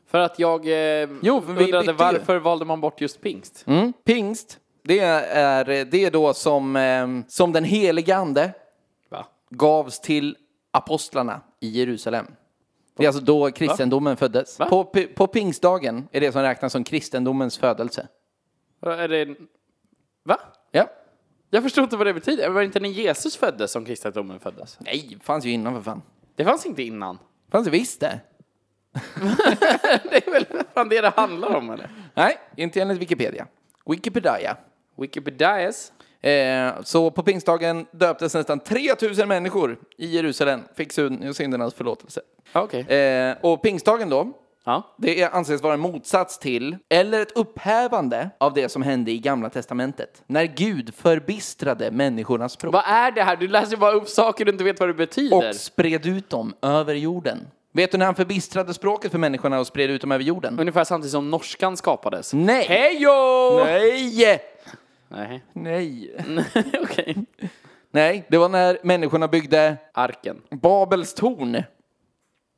[SPEAKER 1] För att jag eh,
[SPEAKER 2] Jo, men vi bytte
[SPEAKER 1] undrade
[SPEAKER 2] ju.
[SPEAKER 1] varför valde man bort just pingst?
[SPEAKER 2] Mm. Pingst, det är, det är då som, eh, som den helige ande
[SPEAKER 1] Va?
[SPEAKER 2] gavs till apostlarna i Jerusalem. Det är alltså då kristendomen föddes. På, pi- på pingstdagen är det som räknas som kristendomens födelse.
[SPEAKER 1] Är det... Va?
[SPEAKER 2] Ja.
[SPEAKER 1] Jag förstår inte vad det betyder. Var det inte när Jesus föddes som kristendomen föddes?
[SPEAKER 2] Nej, det fanns ju innan för fan.
[SPEAKER 1] Det fanns inte innan. [LAUGHS]
[SPEAKER 2] fanns det visst det.
[SPEAKER 1] Det är väl fan det det handlar om eller?
[SPEAKER 2] Nej, inte enligt Wikipedia. Wikipedia.
[SPEAKER 1] Wikipedias.
[SPEAKER 2] Eh, så på pingstdagen döptes nästan 3000 människor i Jerusalem, fick syn- syndernas förlåtelse.
[SPEAKER 1] Ja, Okej.
[SPEAKER 2] Eh, och pingstdagen då,
[SPEAKER 1] Ja.
[SPEAKER 2] det är, anses vara en motsats till, eller ett upphävande av det som hände i Gamla Testamentet. När Gud förbistrade människornas språk
[SPEAKER 1] Vad är det här? Du läser bara upp saker du inte vet vad det betyder.
[SPEAKER 2] och spred ut dem över jorden. Vet du när han förbistrade språket för människorna och spred ut dem över jorden?
[SPEAKER 1] Ungefär samtidigt som norskan skapades.
[SPEAKER 2] Nej!
[SPEAKER 1] Hejo!
[SPEAKER 2] Nej!
[SPEAKER 1] Nej.
[SPEAKER 2] Nej.
[SPEAKER 1] [LAUGHS] Okej.
[SPEAKER 2] Nej, det var när människorna byggde
[SPEAKER 1] Arken.
[SPEAKER 2] Babels torn.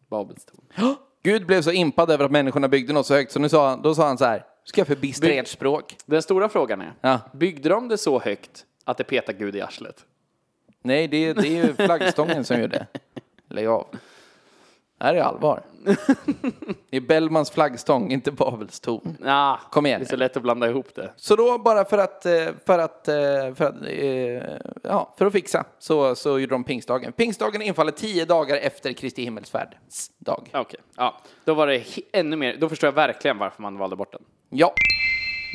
[SPEAKER 1] Babels torn.
[SPEAKER 2] Gud blev så impad över att människorna byggde något så högt, så nu sa han, då sa han så här, ska jag förbistra ert språk?
[SPEAKER 1] Den stora frågan är,
[SPEAKER 2] Ja.
[SPEAKER 1] byggde de det så högt att det petar Gud i arslet?
[SPEAKER 2] Nej, det, det är ju flaggstången som gjorde det. Lägg av. Det här är allvar. Det är Bellmans flaggstång, inte Babels torn.
[SPEAKER 1] Ah,
[SPEAKER 2] Kom igen
[SPEAKER 1] Det är
[SPEAKER 2] nu.
[SPEAKER 1] så lätt att blanda ihop det.
[SPEAKER 2] Så då bara för att, eh, för att, eh, för att, eh, ja, för att fixa så, så gjorde de pingstdagen. Pingstdagen infaller tio dagar efter Kristi himmelsfärds dag.
[SPEAKER 1] Okej. Ja. Då var det he- ännu mer. Då förstår jag verkligen varför man valde bort den.
[SPEAKER 2] Ja.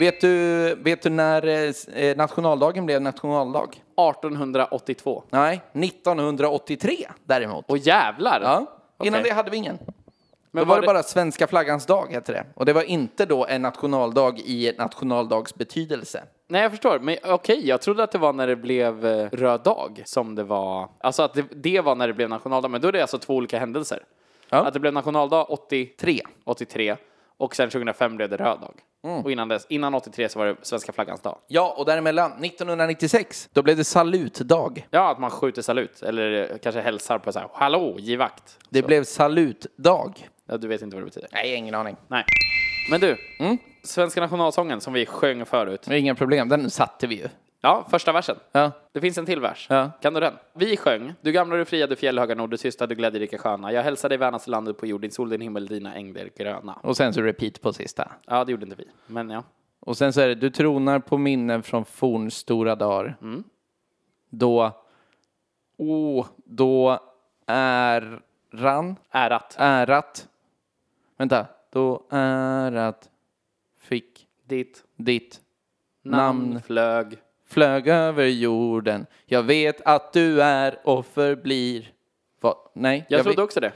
[SPEAKER 2] Vet du, vet du när eh, s- eh, nationaldagen blev nationaldag?
[SPEAKER 1] 1882.
[SPEAKER 2] Nej, 1983 däremot.
[SPEAKER 1] Och jävlar!
[SPEAKER 2] Ja, innan
[SPEAKER 1] Okej.
[SPEAKER 2] det hade vi ingen.
[SPEAKER 1] Men
[SPEAKER 2] då var det bara svenska flaggans dag, hette det. Och det var inte då en nationaldag i nationaldagsbetydelse.
[SPEAKER 1] Nej, jag förstår. Men okej, jag trodde att det var när det blev eh, röd dag som det var. Alltså att det, det var när det blev nationaldag. Men då är det alltså två olika händelser.
[SPEAKER 2] Ja.
[SPEAKER 1] Att det blev nationaldag 83,
[SPEAKER 2] Tre.
[SPEAKER 1] 83 och sen 2005 blev det röd dag.
[SPEAKER 2] Mm.
[SPEAKER 1] Och innan, dess, innan 83 så var det svenska flaggans dag.
[SPEAKER 2] Ja, och däremellan, 1996, då blev det salutdag.
[SPEAKER 1] Ja, att man skjuter salut eller eh, kanske hälsar på så här. Hallå, givakt.
[SPEAKER 2] Det blev salutdag.
[SPEAKER 1] Ja, du vet inte vad det betyder.
[SPEAKER 2] Nej, ingen aning.
[SPEAKER 1] Nej. Men du, mm, svenska nationalsången som vi sjöng förut.
[SPEAKER 2] Det är inga problem, den satte vi ju.
[SPEAKER 1] Ja, första versen.
[SPEAKER 2] Ja.
[SPEAKER 1] Det finns en till vers.
[SPEAKER 2] Ja.
[SPEAKER 1] Kan du den? Vi sjöng. Du gamla, du fria, du fjällhöga nord, du tysta, du glädjerika sköna. Jag hälsar dig vänaste landet på jord, din sol, din himmel, dina ängder gröna.
[SPEAKER 2] Och sen så repeat på sista.
[SPEAKER 1] Ja, det gjorde inte vi. Men ja.
[SPEAKER 2] Och sen så är det, du tronar på minnen från fornstora dagar. Då, oh, då äran,
[SPEAKER 1] Ärat.
[SPEAKER 2] ärat, vänta, då ärat fick
[SPEAKER 1] Ditt
[SPEAKER 2] ditt
[SPEAKER 1] namn,
[SPEAKER 2] Namn.
[SPEAKER 1] flög.
[SPEAKER 2] flög över jorden. Jag vet att du är och förblir. Vad? Nej,
[SPEAKER 1] Jag,
[SPEAKER 2] vet,
[SPEAKER 1] trodde också det.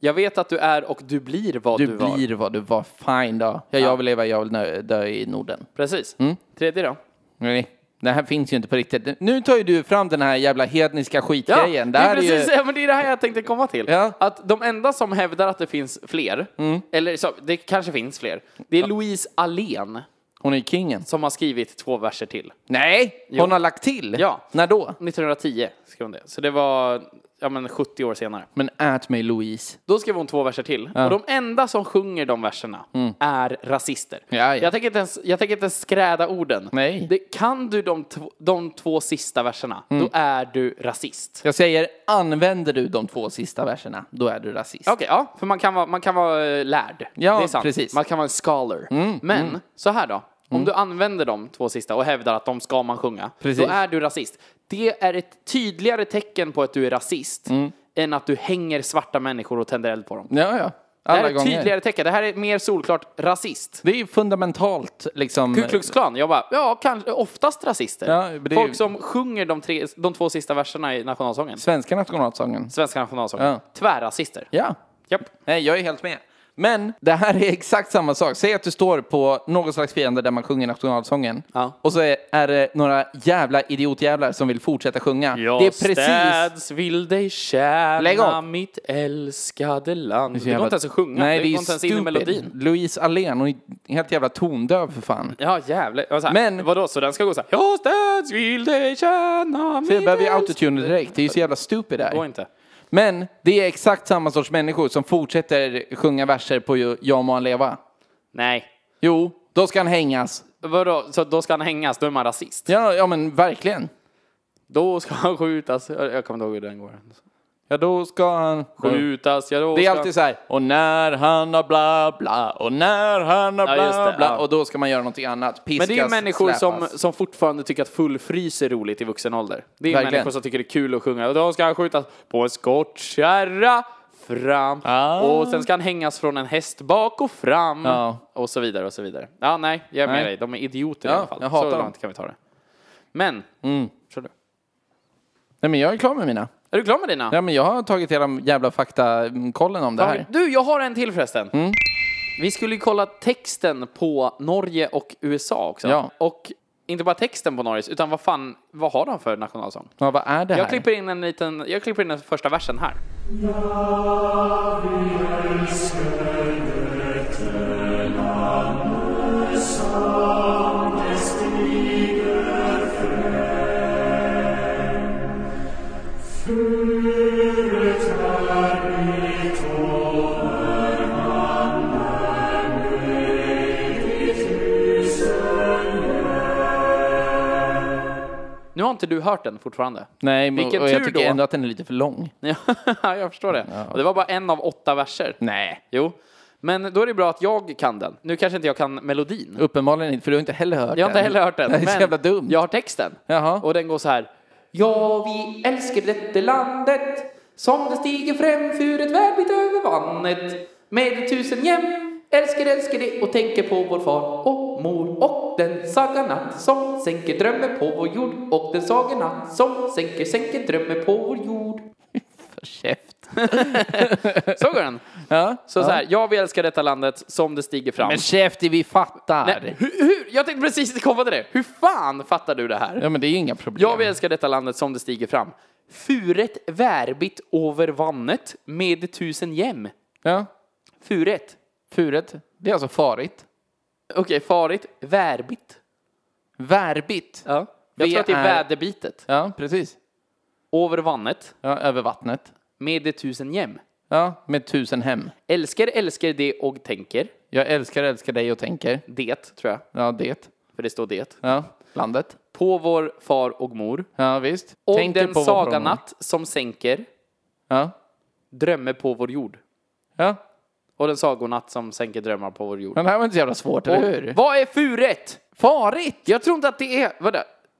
[SPEAKER 1] Jag vet att du är och du blir vad du,
[SPEAKER 2] du
[SPEAKER 1] var.
[SPEAKER 2] blir vad du var. Fine då. Ja, jag vill leva, jag vill nö- dö i Norden.
[SPEAKER 1] Precis. Tredje då.
[SPEAKER 2] Nej, det här finns ju inte på riktigt. Nu tar ju du fram den här jävla hedniska skitgrejen.
[SPEAKER 1] det är precis,
[SPEAKER 2] ju...
[SPEAKER 1] ja, men det är det här jag tänkte komma till.
[SPEAKER 2] Ja. Mm.
[SPEAKER 1] Att de enda som hävdar att det finns fler, eller så, det kanske finns fler, det är Louise Allén
[SPEAKER 2] Hon är ju kingen.
[SPEAKER 1] som har skrivit två verser till.
[SPEAKER 2] Nej, hon har lagt till.
[SPEAKER 1] Ja.
[SPEAKER 2] När då?
[SPEAKER 1] 1910 skrev hon det. Så det var ja, men 70 år senare.
[SPEAKER 2] Men ät mig Louise.
[SPEAKER 1] Då skrev hon två verser till. Och de enda som sjunger de verserna är rasister.
[SPEAKER 2] Mm. Ja, ja.
[SPEAKER 1] Jag, tänker inte ens, jag tänker inte ens skräda orden.
[SPEAKER 2] Nej.
[SPEAKER 1] Det, kan du de, tv- de två sista verserna,
[SPEAKER 2] Mm.
[SPEAKER 1] då är du rasist.
[SPEAKER 2] Jag säger, använder du de två sista verserna, då är du rasist.
[SPEAKER 1] Okej, ja, för man kan vara, man kan vara eh, lärd.
[SPEAKER 2] Ja,
[SPEAKER 1] det är sant.
[SPEAKER 2] precis. Mm,
[SPEAKER 1] Man kan vara en scholar. Men så här då, om du använder de två sista och hävdar att de ska man sjunga,
[SPEAKER 2] Precis.
[SPEAKER 1] då är du rasist. Det är ett tydligare tecken på att du är rasist
[SPEAKER 2] Mm.
[SPEAKER 1] än att du hänger svarta människor och tänder eld på dem.
[SPEAKER 2] Ja, ja.
[SPEAKER 1] Det här
[SPEAKER 2] Alla
[SPEAKER 1] är ett
[SPEAKER 2] gånger.
[SPEAKER 1] tydligare tecken. Det här är mer solklart rasist.
[SPEAKER 2] Det är ju fundamentalt liksom.
[SPEAKER 1] Ku Klux Klan, jag bara, ja, kanske, oftast rasister.
[SPEAKER 2] Ja, men det är ju-
[SPEAKER 1] Folk som sjunger de, tre, de två sista verserna i nationalsången.
[SPEAKER 2] Svenska nationalsången.
[SPEAKER 1] Svenska nationalsången.
[SPEAKER 2] Ja.
[SPEAKER 1] Tvärrasister.
[SPEAKER 2] Ja.
[SPEAKER 1] Japp.
[SPEAKER 2] Nej, jag är helt med. Men det här är exakt samma sak. Säg att du står på någon slags fiende där man sjunger nationalsången.
[SPEAKER 1] Ja.
[SPEAKER 2] Och så är, är det några jävla idiotjävlar som vill fortsätta sjunga.
[SPEAKER 1] Jag
[SPEAKER 2] det är precis...
[SPEAKER 1] städs vill dig tjäna
[SPEAKER 2] Lägg av.
[SPEAKER 1] mitt älskade land. Det
[SPEAKER 2] jävla-
[SPEAKER 1] går inte ens att sjunga.
[SPEAKER 2] Nej, det,
[SPEAKER 1] går
[SPEAKER 2] är
[SPEAKER 1] inte ens in i
[SPEAKER 2] stupid.
[SPEAKER 1] melodin.
[SPEAKER 2] Louise Allén, hon är helt jävla tondöv för fan.
[SPEAKER 1] Ja, jävlar. Och Så här,
[SPEAKER 2] Men-
[SPEAKER 1] Men vadå, så den ska gå så här. Jag städs vill dig tjäna mitt
[SPEAKER 2] Det behöver ju
[SPEAKER 1] älskade-
[SPEAKER 2] autotune direkt. Det är ju så jävla stupid det
[SPEAKER 1] Det går
[SPEAKER 2] här.
[SPEAKER 1] inte.
[SPEAKER 2] Men det är exakt samma sorts människor som fortsätter sjunga verser på ju- Ja må han leva.
[SPEAKER 1] Nej.
[SPEAKER 2] Jo, då ska han hängas.
[SPEAKER 1] Vadå, så då ska han hängas? Då är man rasist?
[SPEAKER 2] Ja, ja men verkligen.
[SPEAKER 1] Då ska han skjutas. Jag jag kommer inte ihåg hur den går.
[SPEAKER 2] Ja, då ska han...
[SPEAKER 1] Skjutas, ja då
[SPEAKER 2] Mm. Det är
[SPEAKER 1] ska-
[SPEAKER 2] alltid så här, och när han har bla bla, och när han har
[SPEAKER 1] Ja,
[SPEAKER 2] bla
[SPEAKER 1] just det,
[SPEAKER 2] bla,
[SPEAKER 1] ja.
[SPEAKER 2] och då ska man göra någonting annat. Piskas,
[SPEAKER 1] Men det är ju människor som,
[SPEAKER 2] släpas.
[SPEAKER 1] som fortfarande tycker att full frys är roligt i vuxen ålder. Det är ju
[SPEAKER 2] Verkligen.
[SPEAKER 1] människor som tycker det är kul att sjunga. Och då ska han skjutas på en skottkärra fram.
[SPEAKER 2] Ah.
[SPEAKER 1] Och sen ska han hängas från en häst bak och fram.
[SPEAKER 2] Ja.
[SPEAKER 1] Och så vidare och så vidare. Ja, nej, jag är med
[SPEAKER 2] Nej.
[SPEAKER 1] dig. De är idioter i
[SPEAKER 2] Ja,
[SPEAKER 1] alla fall.
[SPEAKER 2] jag hatar
[SPEAKER 1] så
[SPEAKER 2] dem. Mm.
[SPEAKER 1] långt kan vi ta det. Men, kör du.
[SPEAKER 2] Nej men jag är klar med mina.
[SPEAKER 1] Är du klar med dina?
[SPEAKER 2] Ja men jag har tagit hela jävla faktakollen om det här. Mm.
[SPEAKER 1] Du, jag har en till förresten. Vi skulle ju kolla texten på Norge och USA också.
[SPEAKER 2] Ja.
[SPEAKER 1] Och inte bara texten på Norges, utan vad fan, vad har de för nationalsång?
[SPEAKER 2] Ja, vad är det här?
[SPEAKER 1] Jag klipper in en liten, jag klipper in den första versen här. Nu har inte du hört den fortfarande.
[SPEAKER 2] Nej, men
[SPEAKER 1] Vilken
[SPEAKER 2] och jag
[SPEAKER 1] tur
[SPEAKER 2] tycker
[SPEAKER 1] då.
[SPEAKER 2] ändå att den är lite för lång.
[SPEAKER 1] [LAUGHS] Ja, jag förstår det. Och det var bara en av åtta verser.
[SPEAKER 2] Nej.
[SPEAKER 1] Jo. Men då är det bra att jag kan den. Nu kanske inte jag kan melodin.
[SPEAKER 2] Uppenbarligen inte, för du har inte heller hört den.
[SPEAKER 1] Jag har inte heller hört
[SPEAKER 2] [LAUGHS]
[SPEAKER 1] den.
[SPEAKER 2] Det är så
[SPEAKER 1] men
[SPEAKER 2] jävla dumt.
[SPEAKER 1] Jag har texten.
[SPEAKER 2] Jaha.
[SPEAKER 1] Och den går så här. Ja, vi älskar detta landet som det stiger fram för ett välbit över vannet med tusen jäm. Älskar, älskar det och tänker på vår far och mor och den saga natt som sänker drömmen på vår jord och den saga natt som sänker, sänker drömmen på vår jord.
[SPEAKER 2] Käft.
[SPEAKER 1] Så går den.
[SPEAKER 2] Ja.
[SPEAKER 1] Så, så här, ja, vi älskar detta landet som det stiger fram.
[SPEAKER 2] Men käft, vi fattar.
[SPEAKER 1] Nej, hur, hur? Jag tänkte precis komma till det. Hur fan fattar du det här?
[SPEAKER 2] Ja men det är ju inga problem.
[SPEAKER 1] Ja, vi älskar detta landet som det stiger fram. Furet värbit över vannet med tusen jäm.
[SPEAKER 2] Ja.
[SPEAKER 1] Furet.
[SPEAKER 2] Furet, det är alltså farigt.
[SPEAKER 1] Okej, farigt. Värbit.
[SPEAKER 2] Värbit.
[SPEAKER 1] Ja. Jag
[SPEAKER 2] Det
[SPEAKER 1] tror att det är,
[SPEAKER 2] är-
[SPEAKER 1] väderbitet.
[SPEAKER 2] Ja, precis.
[SPEAKER 1] Över vannet
[SPEAKER 2] Ja, över vattnet.
[SPEAKER 1] med tusen jäm.
[SPEAKER 2] Ja, med tusen hem.
[SPEAKER 1] Älskar, älskar det och tänker.
[SPEAKER 2] Jag älskar, älskar dig och tänker.
[SPEAKER 1] Det, tror jag.
[SPEAKER 2] Ja, det.
[SPEAKER 1] För det står det.
[SPEAKER 2] Ja, landet.
[SPEAKER 1] På vår far och mor.
[SPEAKER 2] Ja, visst.
[SPEAKER 1] Och
[SPEAKER 2] Tänker
[SPEAKER 1] den
[SPEAKER 2] vår
[SPEAKER 1] saga
[SPEAKER 2] förmåga.
[SPEAKER 1] natt som sänker.
[SPEAKER 2] Ja.
[SPEAKER 1] Drömmer på vår jord.
[SPEAKER 2] ja.
[SPEAKER 1] Och den sagonatt som sänker drömmar på vår jord.
[SPEAKER 2] Men det här var inte så jävla svårt, eller hur?
[SPEAKER 1] Och vad är furet?
[SPEAKER 2] Farigt!
[SPEAKER 1] Jag tror inte att det är... Vadå?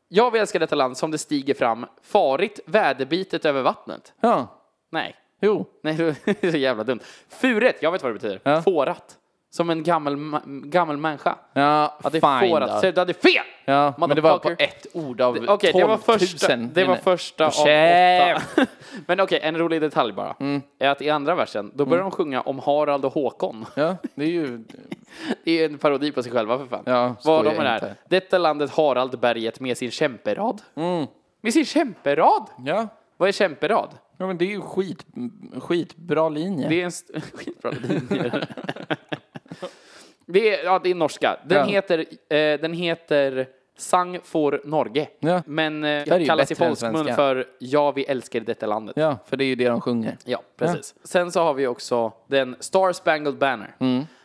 [SPEAKER 1] Jag vill älska detta land som det stiger fram farigt väderbitet över vattnet.
[SPEAKER 2] Ja.
[SPEAKER 1] Nej.
[SPEAKER 2] Jo.
[SPEAKER 1] Nej, [LAUGHS] det är så jävla dumt. Furet, jag vet vad det betyder.
[SPEAKER 2] Ja.
[SPEAKER 1] Fårat. Som en gammal, ma- gammal människa.
[SPEAKER 2] Ja,
[SPEAKER 1] Att det är
[SPEAKER 2] fine
[SPEAKER 1] fårat.
[SPEAKER 2] då.
[SPEAKER 1] Så du hade fel!
[SPEAKER 2] Ja, men det var på
[SPEAKER 1] Motherfucker.
[SPEAKER 2] ett ord av
[SPEAKER 1] Okej, det var första,
[SPEAKER 2] 12 000.
[SPEAKER 1] det var första av
[SPEAKER 2] Käft. Mm.
[SPEAKER 1] åtta. [LAUGHS] Men okej, en rolig detalj bara. Är att i andra versen, då börjar de sjunga om Harald och Håkon.
[SPEAKER 2] Ja, det är ju...
[SPEAKER 1] Det är ju en parodi på sig själva för fan.
[SPEAKER 2] Ja,
[SPEAKER 1] Vad
[SPEAKER 2] skoja
[SPEAKER 1] de är där.
[SPEAKER 2] inte.
[SPEAKER 1] Detta landet Harald berget med sin kämperad.
[SPEAKER 2] Mm.
[SPEAKER 1] Med sin kämperad?
[SPEAKER 2] Ja.
[SPEAKER 1] Vad är kämperad?
[SPEAKER 2] ja, men det är ju skit, skitbra linje.
[SPEAKER 1] Det är en st- [LAUGHS] skitbra linje. [LAUGHS] det, är, ja, det är norska. Den
[SPEAKER 2] Ja.
[SPEAKER 1] heter, eh, den heter Sang for Norge.
[SPEAKER 2] Ja.
[SPEAKER 1] Men
[SPEAKER 2] är
[SPEAKER 1] eh,
[SPEAKER 2] ju
[SPEAKER 1] kallas i
[SPEAKER 2] bättre än
[SPEAKER 1] folkmun
[SPEAKER 2] svenska.
[SPEAKER 1] för Ja, vi älskar detta landet.
[SPEAKER 2] Ja, för det är ju det de sjunger.
[SPEAKER 1] Ja, precis. Sen så har vi också den Star Spangled Banner.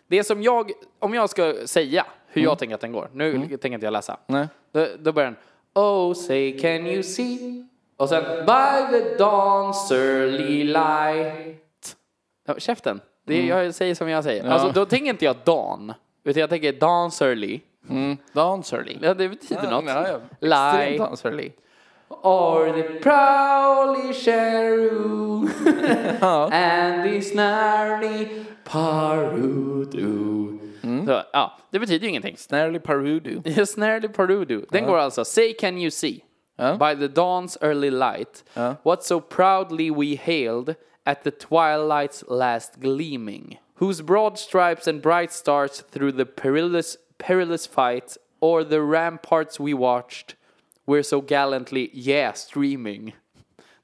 [SPEAKER 1] Det som jag, om jag ska säga hur jag tänker att den går, nu tänker inte jag läsa.
[SPEAKER 2] Nej.
[SPEAKER 1] Då, då börjar den. Oh say can you see? Och sen by the dawn surly light. Ja, käften, det, jag säger som jag säger. Alltså då tänker inte jag dawn, utan jag tänker dawn surly.
[SPEAKER 2] Dancerly.
[SPEAKER 1] Mm. Ja, det betyder något.
[SPEAKER 2] Extremt
[SPEAKER 1] Lie.
[SPEAKER 2] dancerly.
[SPEAKER 1] Or the prowly [LAUGHS] sheroo Oh. and the snarly parudu. Mm. Så, ja, det betyder ju ingenting.
[SPEAKER 2] Snarly
[SPEAKER 1] [LAUGHS]
[SPEAKER 2] Parudu.
[SPEAKER 1] Snarly parudu. Den går alltså, say can you see? By the dawn's early light, what so proudly we hailed at the twilight's last gleaming, whose broad stripes and bright stars through the perilous, perilous fight, or the ramparts we watched, were so gallantly, yeah, streaming.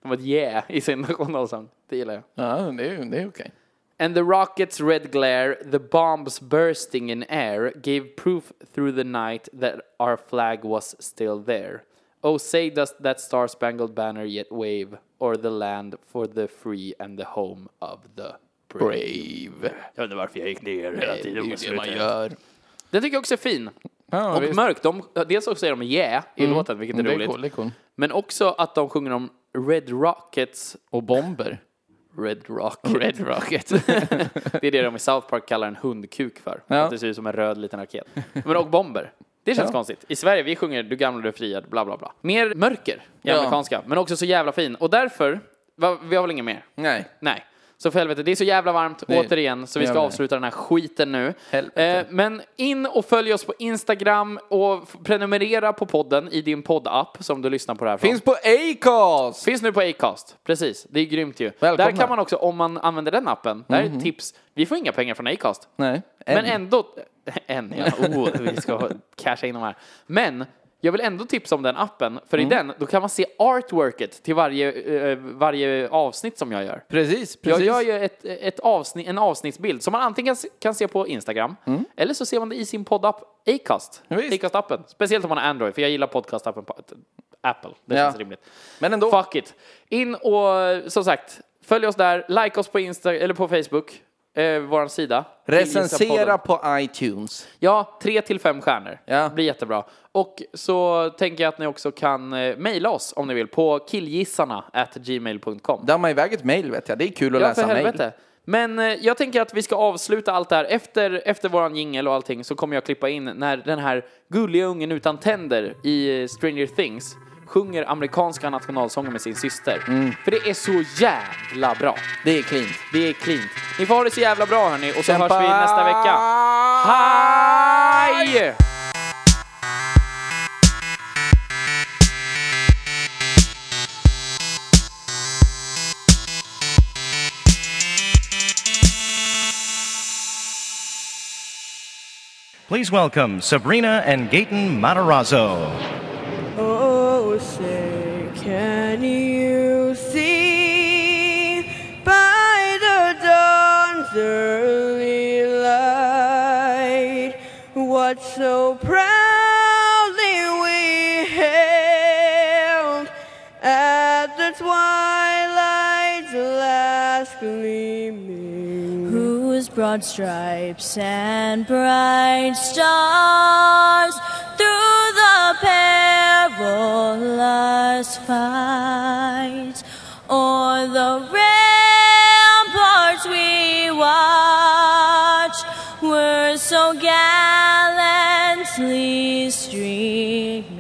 [SPEAKER 1] De var ett yeah i sin nationalsång. Det gillar jag.
[SPEAKER 2] Ja, det är, det är okej.
[SPEAKER 1] And the rocket's red glare, the bombs bursting in air, gave proof through the night that our flag was still there. Oh, say does that star spangled banner yet wave or the land for the free and the home of the brave.
[SPEAKER 2] Brave.
[SPEAKER 1] Jag undrar varför jag gick ner hela
[SPEAKER 2] Det är ju det man gör.
[SPEAKER 1] Den tycker jag också är fin.
[SPEAKER 2] Ja,
[SPEAKER 1] och
[SPEAKER 2] visst. Mm.
[SPEAKER 1] mörk. De, dels också är de yeah i låten, vilket är
[SPEAKER 2] Det är
[SPEAKER 1] roligt.
[SPEAKER 2] cool, det är cool.
[SPEAKER 1] Men också att de sjunger om Red Rockets.
[SPEAKER 2] Och bomber.
[SPEAKER 1] Red
[SPEAKER 2] [LAUGHS]
[SPEAKER 1] Rocket. Red Rocket. [LAUGHS] det är det de i South Park kallar en hundkuk för.
[SPEAKER 2] Ja.
[SPEAKER 1] Att det ser ut som en röd liten raket. Men och bomber. Det känns
[SPEAKER 2] Ja.
[SPEAKER 1] konstigt. I Sverige, vi sjunger Du gamla du är friad, bla bla bla. Mer mörker i
[SPEAKER 2] Ja.
[SPEAKER 1] amerikanska, men också så jävla fin. Och därför, va, vi har väl inget mer?
[SPEAKER 2] Nej.
[SPEAKER 1] Nej. Så för helvete, det är så jävla varmt
[SPEAKER 2] Det är-
[SPEAKER 1] återigen så vi ska
[SPEAKER 2] jävlar.
[SPEAKER 1] avsluta den här skiten nu. Eh,
[SPEAKER 2] Helvete.
[SPEAKER 1] men in och följ oss på Instagram och f- prenumerera på podden i din poddapp som du lyssnar på det här från.
[SPEAKER 2] Finns på Acast!
[SPEAKER 1] Finns nu på Acast, precis. Det är grymt ju.
[SPEAKER 2] Välkomna. Mhm.
[SPEAKER 1] Där kan man också, om man använder den appen, där är ett tips. Vi får inga pengar från Acast.
[SPEAKER 2] Nej.
[SPEAKER 1] Men ändå, [LAUGHS] en ja, oh, vi ska casha in de här. Men jag vill ändå tipsa om den appen, för i
[SPEAKER 2] Mm.
[SPEAKER 1] den då kan man se artworket till varje, eh, varje avsnitt som jag gör.
[SPEAKER 2] Precis,
[SPEAKER 1] Jag
[SPEAKER 2] precis.
[SPEAKER 1] gör ju ett, ett avsnitt, en avsnittsbild som man antingen kan se, kan se på Instagram eller så ser man det i sin poddapp Acast.
[SPEAKER 2] Mm. Visst.
[SPEAKER 1] Acast-appen. Speciellt om man har Android, för jag gillar podcastappen på att- Apple. Det
[SPEAKER 2] Ja.
[SPEAKER 1] känns rimligt.
[SPEAKER 2] Men ändå.
[SPEAKER 1] Fuck it. In och som sagt, följ oss där, like oss på Insta eller på Facebook, eh, vår sida.
[SPEAKER 2] Recensera
[SPEAKER 1] Killgissa-podden.
[SPEAKER 2] på iTunes.
[SPEAKER 1] Ja, tre till fem stjärnor.
[SPEAKER 2] Ja.
[SPEAKER 1] Det blir jättebra. Och så tänker jag att ni också kan eh, mejla oss om ni vill på killgissarna at gmail.com.
[SPEAKER 2] Damma iväg ett mail vet jag. Det är kul att
[SPEAKER 1] Ja,
[SPEAKER 2] läsa
[SPEAKER 1] för
[SPEAKER 2] mail.
[SPEAKER 1] helvete. Men eh, jag tänker att vi ska avsluta allt det här. Efter, efter våran jingel och allting så kommer jag klippa in när den här gulliga ungen utan tänder i eh, Stranger Things sjunger amerikanska nationalsången med sin syster.
[SPEAKER 2] Mm.
[SPEAKER 1] För det är så jävla bra.
[SPEAKER 2] Det är clean.
[SPEAKER 1] Det är klint. Ni får ha det så jävla bra hörni och så hörs vi
[SPEAKER 2] Kämpa!
[SPEAKER 1] nästa vecka. Hej!
[SPEAKER 5] Please welcome Sabrina and Gaten Matarazzo.
[SPEAKER 6] Oh, say, can you see by the dawn's early light what so proudly we hailed at the twilight's last gleaming?
[SPEAKER 7] whose broad stripes and bright stars through the perilous fight o'er the ramparts we watch were so gallantly streaming.
[SPEAKER 6] Oh,